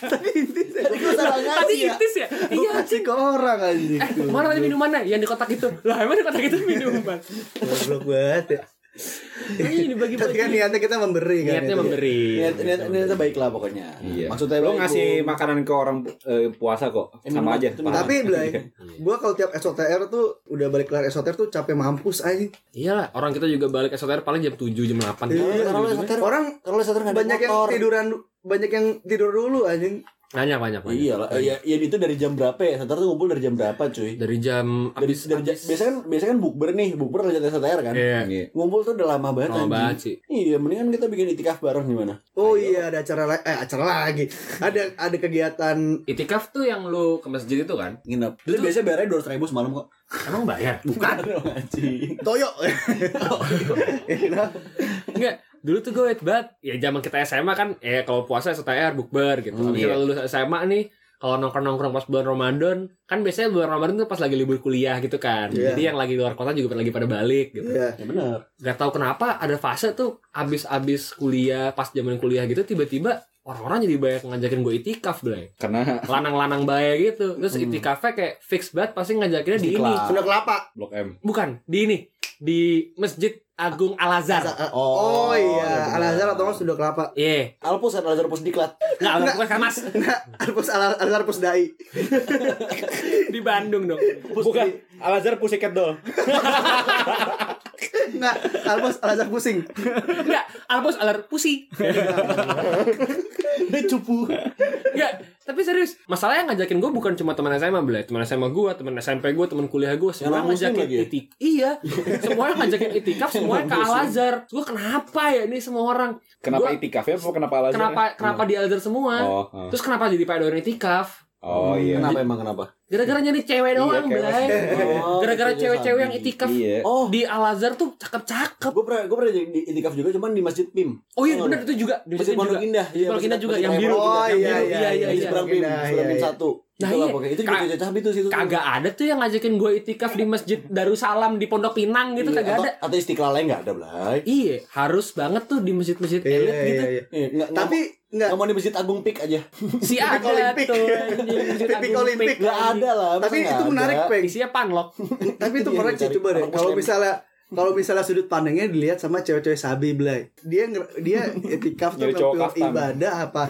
[SPEAKER 1] Tadi intisnya
[SPEAKER 3] Tadi gua salah
[SPEAKER 2] tadi
[SPEAKER 3] ngasih ya.
[SPEAKER 2] itis ya
[SPEAKER 1] Lu
[SPEAKER 2] iya
[SPEAKER 1] kasih ke orang anjing.
[SPEAKER 2] eh mana tadi minumannya yang di kotak itu lah emang di kotak itu minuman
[SPEAKER 1] Goblok banget ya.
[SPEAKER 2] Ini
[SPEAKER 1] Tapi kan
[SPEAKER 2] dibagi-bagi.
[SPEAKER 1] niatnya kita memberi kan.
[SPEAKER 2] Niatnya
[SPEAKER 1] itu.
[SPEAKER 2] memberi.
[SPEAKER 3] Niat, niat, niatnya baik lah pokoknya.
[SPEAKER 5] Iya.
[SPEAKER 3] Maksudnya
[SPEAKER 5] Lo
[SPEAKER 3] baik,
[SPEAKER 5] ngasih
[SPEAKER 3] Bu.
[SPEAKER 5] makanan ke orang eh, puasa kok.
[SPEAKER 3] Eh, minuman,
[SPEAKER 5] Sama aja.
[SPEAKER 3] itu
[SPEAKER 5] Pak.
[SPEAKER 1] Tapi Blay,
[SPEAKER 2] Iya.
[SPEAKER 1] gua kalau tiap SOTR tuh udah balik kelar SOTR tuh capek mampus aja.
[SPEAKER 2] Iyalah, Iya orang kita juga balik SOTR paling jam 7 jam 8.
[SPEAKER 1] Iya,
[SPEAKER 3] Karena lo SOTR
[SPEAKER 1] Orang
[SPEAKER 3] Kalau lo SOTR nggak ada
[SPEAKER 1] banyak yang
[SPEAKER 3] motor.
[SPEAKER 1] tiduran banyak yang tidur dulu anjing.
[SPEAKER 2] Banyak banyak banyak.
[SPEAKER 3] Iya lah, ya, ya itu dari jam berapa ya? Setar tuh ngumpul dari jam berapa cuy?
[SPEAKER 2] Dari jam
[SPEAKER 3] Dari,
[SPEAKER 2] abis
[SPEAKER 3] dari,
[SPEAKER 2] abis-
[SPEAKER 3] biasanya kan biasanya kan bukber nih, bukber lanjut STR kan.
[SPEAKER 2] Iya.
[SPEAKER 5] Iya.
[SPEAKER 3] Ngumpul tuh udah lama banget.
[SPEAKER 2] Lama
[SPEAKER 3] anjing.
[SPEAKER 2] banget sih.
[SPEAKER 3] Iya, mendingan kita bikin itikaf bareng gimana?
[SPEAKER 1] Oh iya ada acara la- eh acara lagi. Ada ada kegiatan
[SPEAKER 4] Itikaf tuh yang lu ke masjid itu kan?
[SPEAKER 3] Nginep. Itu biasanya bayarnya dua ratus ribu semalam kok.
[SPEAKER 2] Emang bayar?
[SPEAKER 3] Bukan dong, anjing.
[SPEAKER 1] toyo.
[SPEAKER 3] Eh,
[SPEAKER 2] Enggak. Dulu tuh gue wait banget. Ya zaman kita SMA kan, ya kalau puasa SOTR bukber gitu. Habis
[SPEAKER 5] iya.
[SPEAKER 2] kita lulus SMA nih, kalau nongkrong-nongkrong pas bulan Ramadan, kan biasanya bulan Ramadan tuh pas lagi libur kuliah gitu kan.
[SPEAKER 1] Iya.
[SPEAKER 2] Jadi yang lagi luar kota juga lagi pada balik gitu.
[SPEAKER 1] Iya.
[SPEAKER 3] Ya benar.
[SPEAKER 2] Gak tahu kenapa ada fase tuh abis-abis kuliah, pas zaman kuliah gitu tiba-tiba orang-orang jadi banyak ngajakin gue itikaf, Blay.
[SPEAKER 5] Karena
[SPEAKER 2] lanang-lanang baik gitu terus
[SPEAKER 3] Hmm.
[SPEAKER 2] itikafnya kayak fix banget pasti ngajakinnya di ini
[SPEAKER 3] Istiqlal.
[SPEAKER 1] Sudah kelapa.
[SPEAKER 5] Blok M.
[SPEAKER 2] bukan di ini di masjid Agung Al Azhar
[SPEAKER 1] Oh,
[SPEAKER 3] ya
[SPEAKER 1] iya, Al
[SPEAKER 3] benar.
[SPEAKER 1] Azhar atau enggak sudah kelapa.
[SPEAKER 2] iya
[SPEAKER 3] Alpus kan Al-Azhar Pus Diklat.
[SPEAKER 2] nggak Al bukan Mas
[SPEAKER 1] Enggak, Alpus Nah, Al Al Azhar Pus Dai.
[SPEAKER 2] di Bandung dong
[SPEAKER 5] Bukan Al-Azhar Pussycat Doll.
[SPEAKER 1] Enggak, Alpus Al Azhar Nah, pusing.
[SPEAKER 2] nggak Albus Alar Pusi
[SPEAKER 3] Dia cupu.
[SPEAKER 2] nggak tapi serius masalahnya ngajakin gue bukan cuma teman SMA bela teman SMA gue teman SMP gue teman kuliah gue
[SPEAKER 3] Yang
[SPEAKER 2] semua
[SPEAKER 3] non-muslim
[SPEAKER 2] ngajakin
[SPEAKER 3] lagi ya?
[SPEAKER 2] itik iya semua ngajakin itikaf semua ke Al Azhar gue kenapa ya ini semua orang
[SPEAKER 5] Kenapa
[SPEAKER 2] Gua-
[SPEAKER 5] itikafnya apa kenapa Al-Azhar?
[SPEAKER 2] kenapa kenapa di Al Azhar semua
[SPEAKER 5] Oh, oh.
[SPEAKER 2] terus kenapa jadi pada orang itikaf
[SPEAKER 5] oh iya.
[SPEAKER 3] Kenapa emang kenapa?
[SPEAKER 2] gara-gara nyari cewek doang
[SPEAKER 5] kayak
[SPEAKER 2] Blay.
[SPEAKER 5] masih-
[SPEAKER 3] Oh,
[SPEAKER 2] gara-gara
[SPEAKER 3] gitu,
[SPEAKER 2] cewek-cewek
[SPEAKER 3] Sabi.
[SPEAKER 2] yang itikaf
[SPEAKER 5] Iya.
[SPEAKER 3] Oh,
[SPEAKER 2] di Al Azhar tuh cakep-cakep.
[SPEAKER 3] gue pernah gue pernah jadi di itikaf juga cuman di Masjid PIM.
[SPEAKER 2] Oh iya
[SPEAKER 3] Tau
[SPEAKER 2] benar itu juga. Di
[SPEAKER 3] Masjid
[SPEAKER 2] situ juga.
[SPEAKER 3] Pondok Indah.
[SPEAKER 2] Masjid Pondok Indah juga, yang biru.
[SPEAKER 1] Oh
[SPEAKER 3] Yang
[SPEAKER 1] iya
[SPEAKER 3] biru.
[SPEAKER 1] iya
[SPEAKER 2] iya,
[SPEAKER 1] iya.
[SPEAKER 2] iya,
[SPEAKER 3] Masjid Perang PIM,
[SPEAKER 1] Nah,
[SPEAKER 3] Perang
[SPEAKER 1] iya,
[SPEAKER 3] PIM
[SPEAKER 1] iya.
[SPEAKER 3] satu.
[SPEAKER 2] Nah,
[SPEAKER 3] Itulah
[SPEAKER 2] iya.
[SPEAKER 3] pokoknya. Itu
[SPEAKER 2] Ka-
[SPEAKER 3] juga cacah itu situ.
[SPEAKER 2] Kagak ada tuh yang ngajakin gue itikaf di Masjid Darussalam di Pondok Pinang gitu
[SPEAKER 3] Iya,
[SPEAKER 2] kagak
[SPEAKER 3] atau-
[SPEAKER 2] ada.
[SPEAKER 3] Atau istiklalnya nggak ada, Blay.
[SPEAKER 2] Iya, harus banget tuh di masjid-masjid
[SPEAKER 1] Iya,
[SPEAKER 2] elit
[SPEAKER 1] iya,
[SPEAKER 2] gitu.
[SPEAKER 1] iya.
[SPEAKER 3] Iya, nggak- nggak
[SPEAKER 1] Tapi enggak
[SPEAKER 3] mau- nggak mau di Masjid Agung Pik aja.
[SPEAKER 2] Si
[SPEAKER 1] Pipik
[SPEAKER 2] ada
[SPEAKER 1] Olimpik.
[SPEAKER 2] tuh. anjing, Masjid
[SPEAKER 1] Pipik
[SPEAKER 2] Agung
[SPEAKER 1] Olimpik.
[SPEAKER 2] Pik.
[SPEAKER 3] Nggak ada lah. masa
[SPEAKER 1] tapi
[SPEAKER 3] nggak
[SPEAKER 1] itu
[SPEAKER 3] ada?
[SPEAKER 1] menarik, Peng.
[SPEAKER 2] Isinya panlok.
[SPEAKER 1] Tapi itu
[SPEAKER 3] Iya,
[SPEAKER 1] menarik sih
[SPEAKER 3] dicari.
[SPEAKER 1] coba deh.
[SPEAKER 3] Orang
[SPEAKER 1] Kalau
[SPEAKER 3] Muslim.
[SPEAKER 1] misalnya kalau misalnya sudut pandangnya dilihat sama cewek-cewek sabi belai, dia nger- dia etikaf tuh
[SPEAKER 5] Jadi cowok
[SPEAKER 1] ngambil
[SPEAKER 5] kaftan.
[SPEAKER 1] ibadah apa?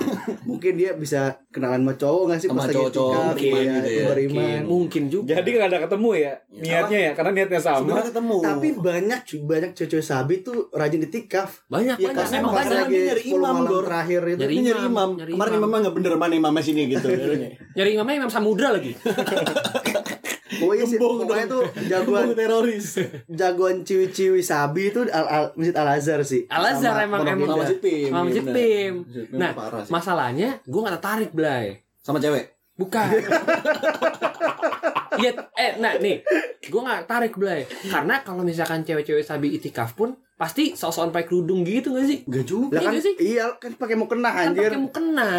[SPEAKER 1] Mungkin dia bisa kenalan sama cowok nggak sih
[SPEAKER 3] Sama
[SPEAKER 1] pas lagi
[SPEAKER 3] cowok-cowok
[SPEAKER 1] etikaf,
[SPEAKER 3] beriman
[SPEAKER 1] iya,
[SPEAKER 3] gitu ya.
[SPEAKER 1] beriman.
[SPEAKER 2] Mungkin juga.
[SPEAKER 5] Jadi nggak ada ketemu ya niatnya ya karena niatnya sama.
[SPEAKER 3] Sebenarnya ketemu.
[SPEAKER 1] Tapi banyak cuy, banyak cewek-cewek sabi tuh rajin etikaf.
[SPEAKER 2] banyak
[SPEAKER 3] Ya,
[SPEAKER 2] banyak
[SPEAKER 3] karena
[SPEAKER 2] emang
[SPEAKER 1] pas
[SPEAKER 3] makanya
[SPEAKER 2] banyak.
[SPEAKER 1] lagi
[SPEAKER 3] dia nyari
[SPEAKER 1] 10
[SPEAKER 3] imam,
[SPEAKER 1] malam
[SPEAKER 3] Dor.
[SPEAKER 1] terakhir itu.
[SPEAKER 2] Nyari
[SPEAKER 3] Ini nyari
[SPEAKER 2] imam,
[SPEAKER 3] imam.
[SPEAKER 2] nyari
[SPEAKER 3] Kemarin
[SPEAKER 2] imam.
[SPEAKER 3] imam nggak bener mana imamnya sini gitu.
[SPEAKER 2] Nyari imamnya Imam Samudra lagi.
[SPEAKER 3] Iya,
[SPEAKER 1] Oh iya sih,
[SPEAKER 3] Gembong
[SPEAKER 1] pokoknya tuh
[SPEAKER 3] dong.
[SPEAKER 1] jagoan
[SPEAKER 3] Gembong teroris.
[SPEAKER 1] jagoan ciwi-ciwi sabi itu al, al, masjid al azhar sih.
[SPEAKER 2] Al Azhar
[SPEAKER 1] Sama
[SPEAKER 2] emang
[SPEAKER 1] Pondok
[SPEAKER 2] emang.
[SPEAKER 3] Sama
[SPEAKER 1] Indah.
[SPEAKER 3] Masjid PIM.
[SPEAKER 2] Sama
[SPEAKER 3] iya
[SPEAKER 2] Masjid
[SPEAKER 3] benar.
[SPEAKER 2] PIM.
[SPEAKER 3] Masjid PIM
[SPEAKER 2] Nah,
[SPEAKER 3] parah sih.
[SPEAKER 2] masalahnya gue gak tertarik, Blay.
[SPEAKER 3] sama cewek.
[SPEAKER 2] Bukan. Iya, eh, nah nih, gue nggak tarik belai. Karena kalau misalkan cewek-cewek sabi itikaf pun pasti sosokan pakai kerudung gitu gak sih?
[SPEAKER 3] Gak juga.
[SPEAKER 1] Lah
[SPEAKER 2] Iya
[SPEAKER 1] kan
[SPEAKER 2] nggak sih?
[SPEAKER 1] iya kan pakai mau kena
[SPEAKER 2] Kan
[SPEAKER 1] anjir.
[SPEAKER 2] pakai mau kena,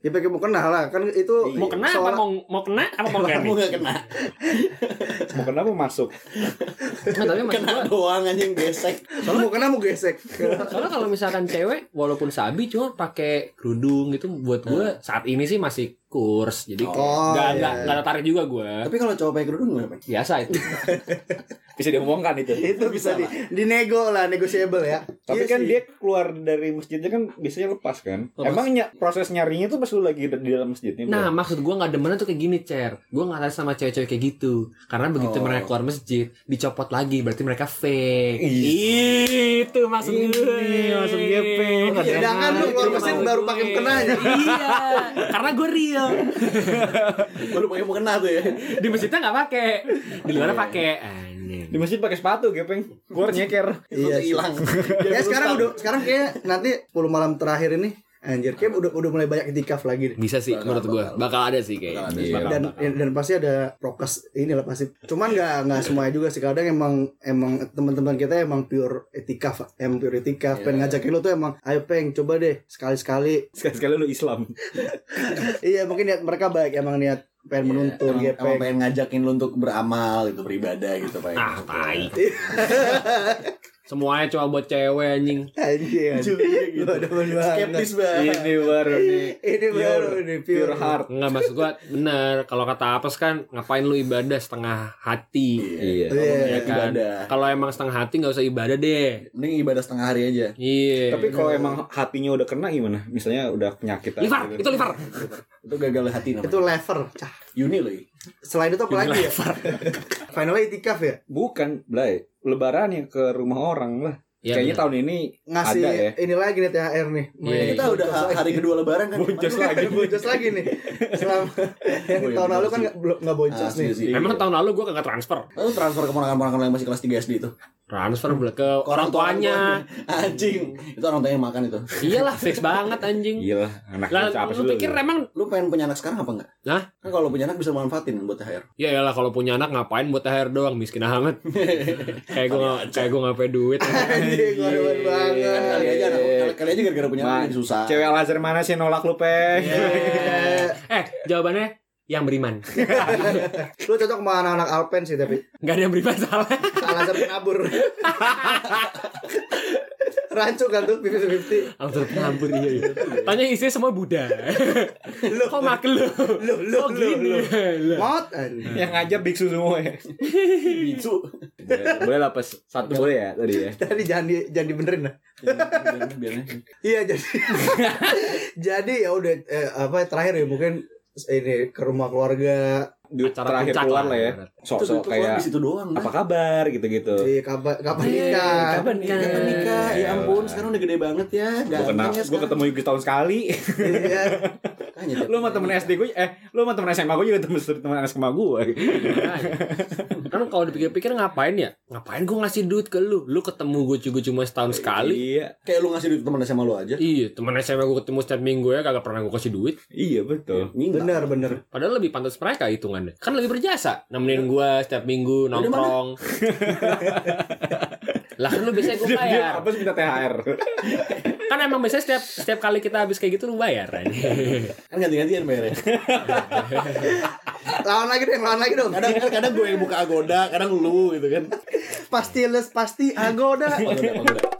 [SPEAKER 1] Ya pakai mau kena lah kan itu
[SPEAKER 2] Iya. mau kena apa
[SPEAKER 1] seolah-
[SPEAKER 2] mau mau kena apa mau nggak
[SPEAKER 3] Kamu
[SPEAKER 2] nih?
[SPEAKER 3] gak kena.
[SPEAKER 5] Mau kenapa masuk?
[SPEAKER 2] Nah, tapi maksud
[SPEAKER 3] Kena
[SPEAKER 2] gua,
[SPEAKER 3] doang anjing besek.
[SPEAKER 1] Soalnya mau kena mau gesek.
[SPEAKER 2] soalnya kalau misalkan cewek walaupun sabi cuma pakai kerudung gitu buat gue saat ini sih masih kurs jadi nggak
[SPEAKER 1] Iya. Oh,
[SPEAKER 2] nggak
[SPEAKER 1] iya.
[SPEAKER 2] nggak tertarik juga gue
[SPEAKER 3] Tapi kalau cowok pakai kerudung gimana? Pak?
[SPEAKER 2] biasa itu
[SPEAKER 5] Bisa diomongkan itu.
[SPEAKER 1] itu bisa di dinego lah negotiable ya.
[SPEAKER 5] Tapi
[SPEAKER 1] Iya
[SPEAKER 5] kan
[SPEAKER 1] sih.
[SPEAKER 5] dia keluar dari masjidnya kan biasanya lepas kan. Emang ny- proses nyarinya tuh pas lu lagi di dalam masjidnya.
[SPEAKER 2] Nah,
[SPEAKER 5] bro?
[SPEAKER 2] maksud gue nggak demennya tuh kayak gini, Cer. Gue nggak tarik sama cewek-cewek kayak gitu. Karena begitu
[SPEAKER 3] Oh.
[SPEAKER 2] mereka keluar masjid, dicopot lagi. Berarti mereka fake. Itu maksud
[SPEAKER 5] Ini maksud gue, Pe. Lu nggak
[SPEAKER 1] Iya, jangan lu
[SPEAKER 2] Itu
[SPEAKER 1] keluar mesin
[SPEAKER 2] maksud
[SPEAKER 1] baru
[SPEAKER 2] gue.
[SPEAKER 1] pakai mukena aja.
[SPEAKER 2] Iya, karena gue real.
[SPEAKER 3] Baru pakai mau kena tuh ya.
[SPEAKER 2] Di masjidnya nggak pakai, di luarnya pakai. Anjing.
[SPEAKER 5] di masjid pakai sepatu gepeng. Keluar nyeker.
[SPEAKER 1] Iya
[SPEAKER 3] Terus
[SPEAKER 1] sih.
[SPEAKER 3] hilang.
[SPEAKER 1] Ya sekarang udah sekarang kayak nanti 10 malam terakhir ini anjir kayak udah udah mulai banyak itikaf lagi deh.
[SPEAKER 2] Bisa sih,
[SPEAKER 3] Bakal,
[SPEAKER 2] menurut gue.
[SPEAKER 3] bakal.
[SPEAKER 2] Bakal ada sih kayaknya. Iya.
[SPEAKER 1] dan dan pasti ada prokes inilah pasti cuman nggak nggak semuanya juga sih kadang emang emang teman-teman kita emang pure etikaf em pure etikaf
[SPEAKER 3] Iya.
[SPEAKER 1] pengen ngajakin lo tuh emang ayo peng coba deh sekali-sekali
[SPEAKER 5] Sekali-sekali lu Islam.
[SPEAKER 1] iya mungkin niat mereka baik emang niat pengen menuntun iya,
[SPEAKER 3] Iya, emang,
[SPEAKER 1] gepeng
[SPEAKER 3] emang pengen
[SPEAKER 5] Iya.
[SPEAKER 3] ngajakin lu untuk beramal gitu beribadah gitu Pak.
[SPEAKER 2] Ah, tai. Ah, Semuanya cuma buat cewek anjing.
[SPEAKER 4] Anjir. Gua demen banget.
[SPEAKER 1] Skeptis
[SPEAKER 3] Iya.
[SPEAKER 1] banget.
[SPEAKER 5] Ini baru nih
[SPEAKER 1] Iya.
[SPEAKER 4] Ini baru nih pure
[SPEAKER 5] pure heart.
[SPEAKER 2] Enggak maksud gua bener. Kalau kata apes kan ngapain lu ibadah setengah hati.
[SPEAKER 4] Iya.
[SPEAKER 5] Iya.
[SPEAKER 2] Ya kan?
[SPEAKER 3] Ibadah.
[SPEAKER 2] Kalau emang setengah hati nggak usah ibadah deh.
[SPEAKER 3] Mending ibadah setengah hari aja.
[SPEAKER 2] Iya.
[SPEAKER 5] Tapi kalau emang hatinya udah kena gimana? Misalnya udah penyakit aja
[SPEAKER 2] liver,
[SPEAKER 5] gitu.
[SPEAKER 2] itu liver.
[SPEAKER 3] Itu gagal hati namanya.
[SPEAKER 1] Itu lever. Cah.
[SPEAKER 3] Uni loh. ini.
[SPEAKER 2] Iya,
[SPEAKER 1] Selain itu apa lagi ya? Finalnya itikaf ya?
[SPEAKER 5] Bukan, Blay. Lebaran ya ke rumah orang lah.
[SPEAKER 2] Iya,
[SPEAKER 5] Kayaknya
[SPEAKER 2] bener.
[SPEAKER 5] tahun ini
[SPEAKER 1] Ngasih
[SPEAKER 5] Ada ya?
[SPEAKER 1] ini lagi nih THR nih.
[SPEAKER 2] Iya,
[SPEAKER 3] Kita
[SPEAKER 2] iya.
[SPEAKER 3] udah ha- hari kedua lebaran kan.
[SPEAKER 5] Boncos
[SPEAKER 3] Kemarin-
[SPEAKER 5] lagi.
[SPEAKER 1] boncos lagi nih. Selama yang
[SPEAKER 3] Oh, iya,
[SPEAKER 1] tahun lalu
[SPEAKER 3] bener
[SPEAKER 1] kan
[SPEAKER 3] sih.
[SPEAKER 1] nggak- belum nggak boncos
[SPEAKER 3] Asli
[SPEAKER 1] nih.
[SPEAKER 3] sih.
[SPEAKER 2] Emang tahun lalu gua kagak transfer.
[SPEAKER 3] Lalu transfer ke ponakan-ponakan yang masih kelas 3 SD itu.
[SPEAKER 2] Transfer beli ke
[SPEAKER 3] Ke
[SPEAKER 2] orang tuanya.
[SPEAKER 3] Anjing. Itu orang tuanya yang makan itu.
[SPEAKER 2] Iyalah fix banget anjing.
[SPEAKER 5] Gila, anaknya
[SPEAKER 2] Lah
[SPEAKER 5] siapa Iya, sih
[SPEAKER 2] lu
[SPEAKER 5] lu? gitu.
[SPEAKER 2] pikir emang
[SPEAKER 3] Lu pengen punya anak sekarang apa enggak?
[SPEAKER 2] Hah?
[SPEAKER 3] Kan kalau punya anak bisa manfaatin buat
[SPEAKER 5] Eh,
[SPEAKER 3] THR.
[SPEAKER 2] ya iyalah kalau punya anak ngapain buat THR doang miskin amat. kayak gua kayak gua ngapain duit.
[SPEAKER 1] Anjing, gua demen banget.
[SPEAKER 3] Kan kali aja anak kali- kali aja gara-gara punya anak
[SPEAKER 5] eh, Ma-
[SPEAKER 3] jadi susah.
[SPEAKER 5] Cewek al mana sih nolak lu, Peng?
[SPEAKER 2] Iya.
[SPEAKER 1] Eh,
[SPEAKER 2] eh, jawabannya yang beriman.
[SPEAKER 1] Lu cocok sama anak-anak Alpen sih tapi
[SPEAKER 2] Gak ada yang beriman salah.
[SPEAKER 1] Salazar penabur Rancu kan tuh 50-50
[SPEAKER 2] Langsung pengampun iya, iya. Tanya isinya semua Buddha. Lo kok makel lo?
[SPEAKER 1] Lu, lu,
[SPEAKER 2] Kok
[SPEAKER 1] lu,
[SPEAKER 2] gini?
[SPEAKER 1] lu
[SPEAKER 2] Lo.
[SPEAKER 1] Oh, Mot anjing.
[SPEAKER 5] Yang ngajak biksu semua ya.
[SPEAKER 3] Bicu.
[SPEAKER 5] boleh lah pas satu boleh ya tadi ya.
[SPEAKER 1] Tadi jangan, di, jangan dibenerin lah Iya jadi Jadi ya udah eh, apa terakhir ya mungkin ini ke rumah keluarga
[SPEAKER 5] Di
[SPEAKER 2] Acara
[SPEAKER 5] terakhir
[SPEAKER 2] puncak
[SPEAKER 5] keluar
[SPEAKER 2] lah,
[SPEAKER 5] lah ya.
[SPEAKER 2] ibarat.
[SPEAKER 3] Itu
[SPEAKER 5] Sok-sok
[SPEAKER 3] kayak
[SPEAKER 5] kayak
[SPEAKER 3] di situ doang.
[SPEAKER 5] apa
[SPEAKER 3] Apa?
[SPEAKER 5] kabar gitu-gitu.
[SPEAKER 1] di kapan kapan
[SPEAKER 2] Iya,
[SPEAKER 1] nikah gitu ya.
[SPEAKER 2] kapan nikah?
[SPEAKER 3] Kapan nikah? Ya
[SPEAKER 5] Eh,
[SPEAKER 3] ampun, sekarang udah gede banget ya.
[SPEAKER 5] Gue kenal,
[SPEAKER 3] Gantengnya
[SPEAKER 5] gue
[SPEAKER 3] sekarang.
[SPEAKER 5] ketemu Yuki tahun sekali.
[SPEAKER 1] Iya.
[SPEAKER 3] Makanya, Jep.
[SPEAKER 5] lu sama temen SD gue, eh, lu sama temen SMA gue juga temen temen SMA gue.
[SPEAKER 2] Kan kalau dipikir-pikir ngapain ya? Ngapain gue ngasih duit ke lu? Lu ketemu gue juga cuma setahun sekali.
[SPEAKER 5] Iya,
[SPEAKER 3] Kayak lu ngasih duit teman SMA lu aja.
[SPEAKER 2] Iya, temen SMA gue ketemu setiap minggu ya kagak pernah gue kasih duit.
[SPEAKER 5] iya betul.
[SPEAKER 3] Minta.
[SPEAKER 1] bener bener
[SPEAKER 2] Padahal lebih pantas mereka hitungannya. Kan lebih berjasa.
[SPEAKER 5] Iya.
[SPEAKER 2] Nemenin gue setiap minggu
[SPEAKER 3] Dari
[SPEAKER 2] nongkrong. lah kan lu biasanya gue
[SPEAKER 5] Dia, dia
[SPEAKER 2] bayar.
[SPEAKER 5] apa minta THR?
[SPEAKER 2] Kan emang biasanya setiap setiap kali kita habis kayak gitu lu bayar.
[SPEAKER 3] Kan ganti-gantian bayarnya.
[SPEAKER 1] lawan lagi dong lawan lagi dong
[SPEAKER 3] Kadang kadang gue yang buka agoda, kadang lu gitu kan.
[SPEAKER 1] pasti les pasti agoda
[SPEAKER 3] Pagoda, pagoda.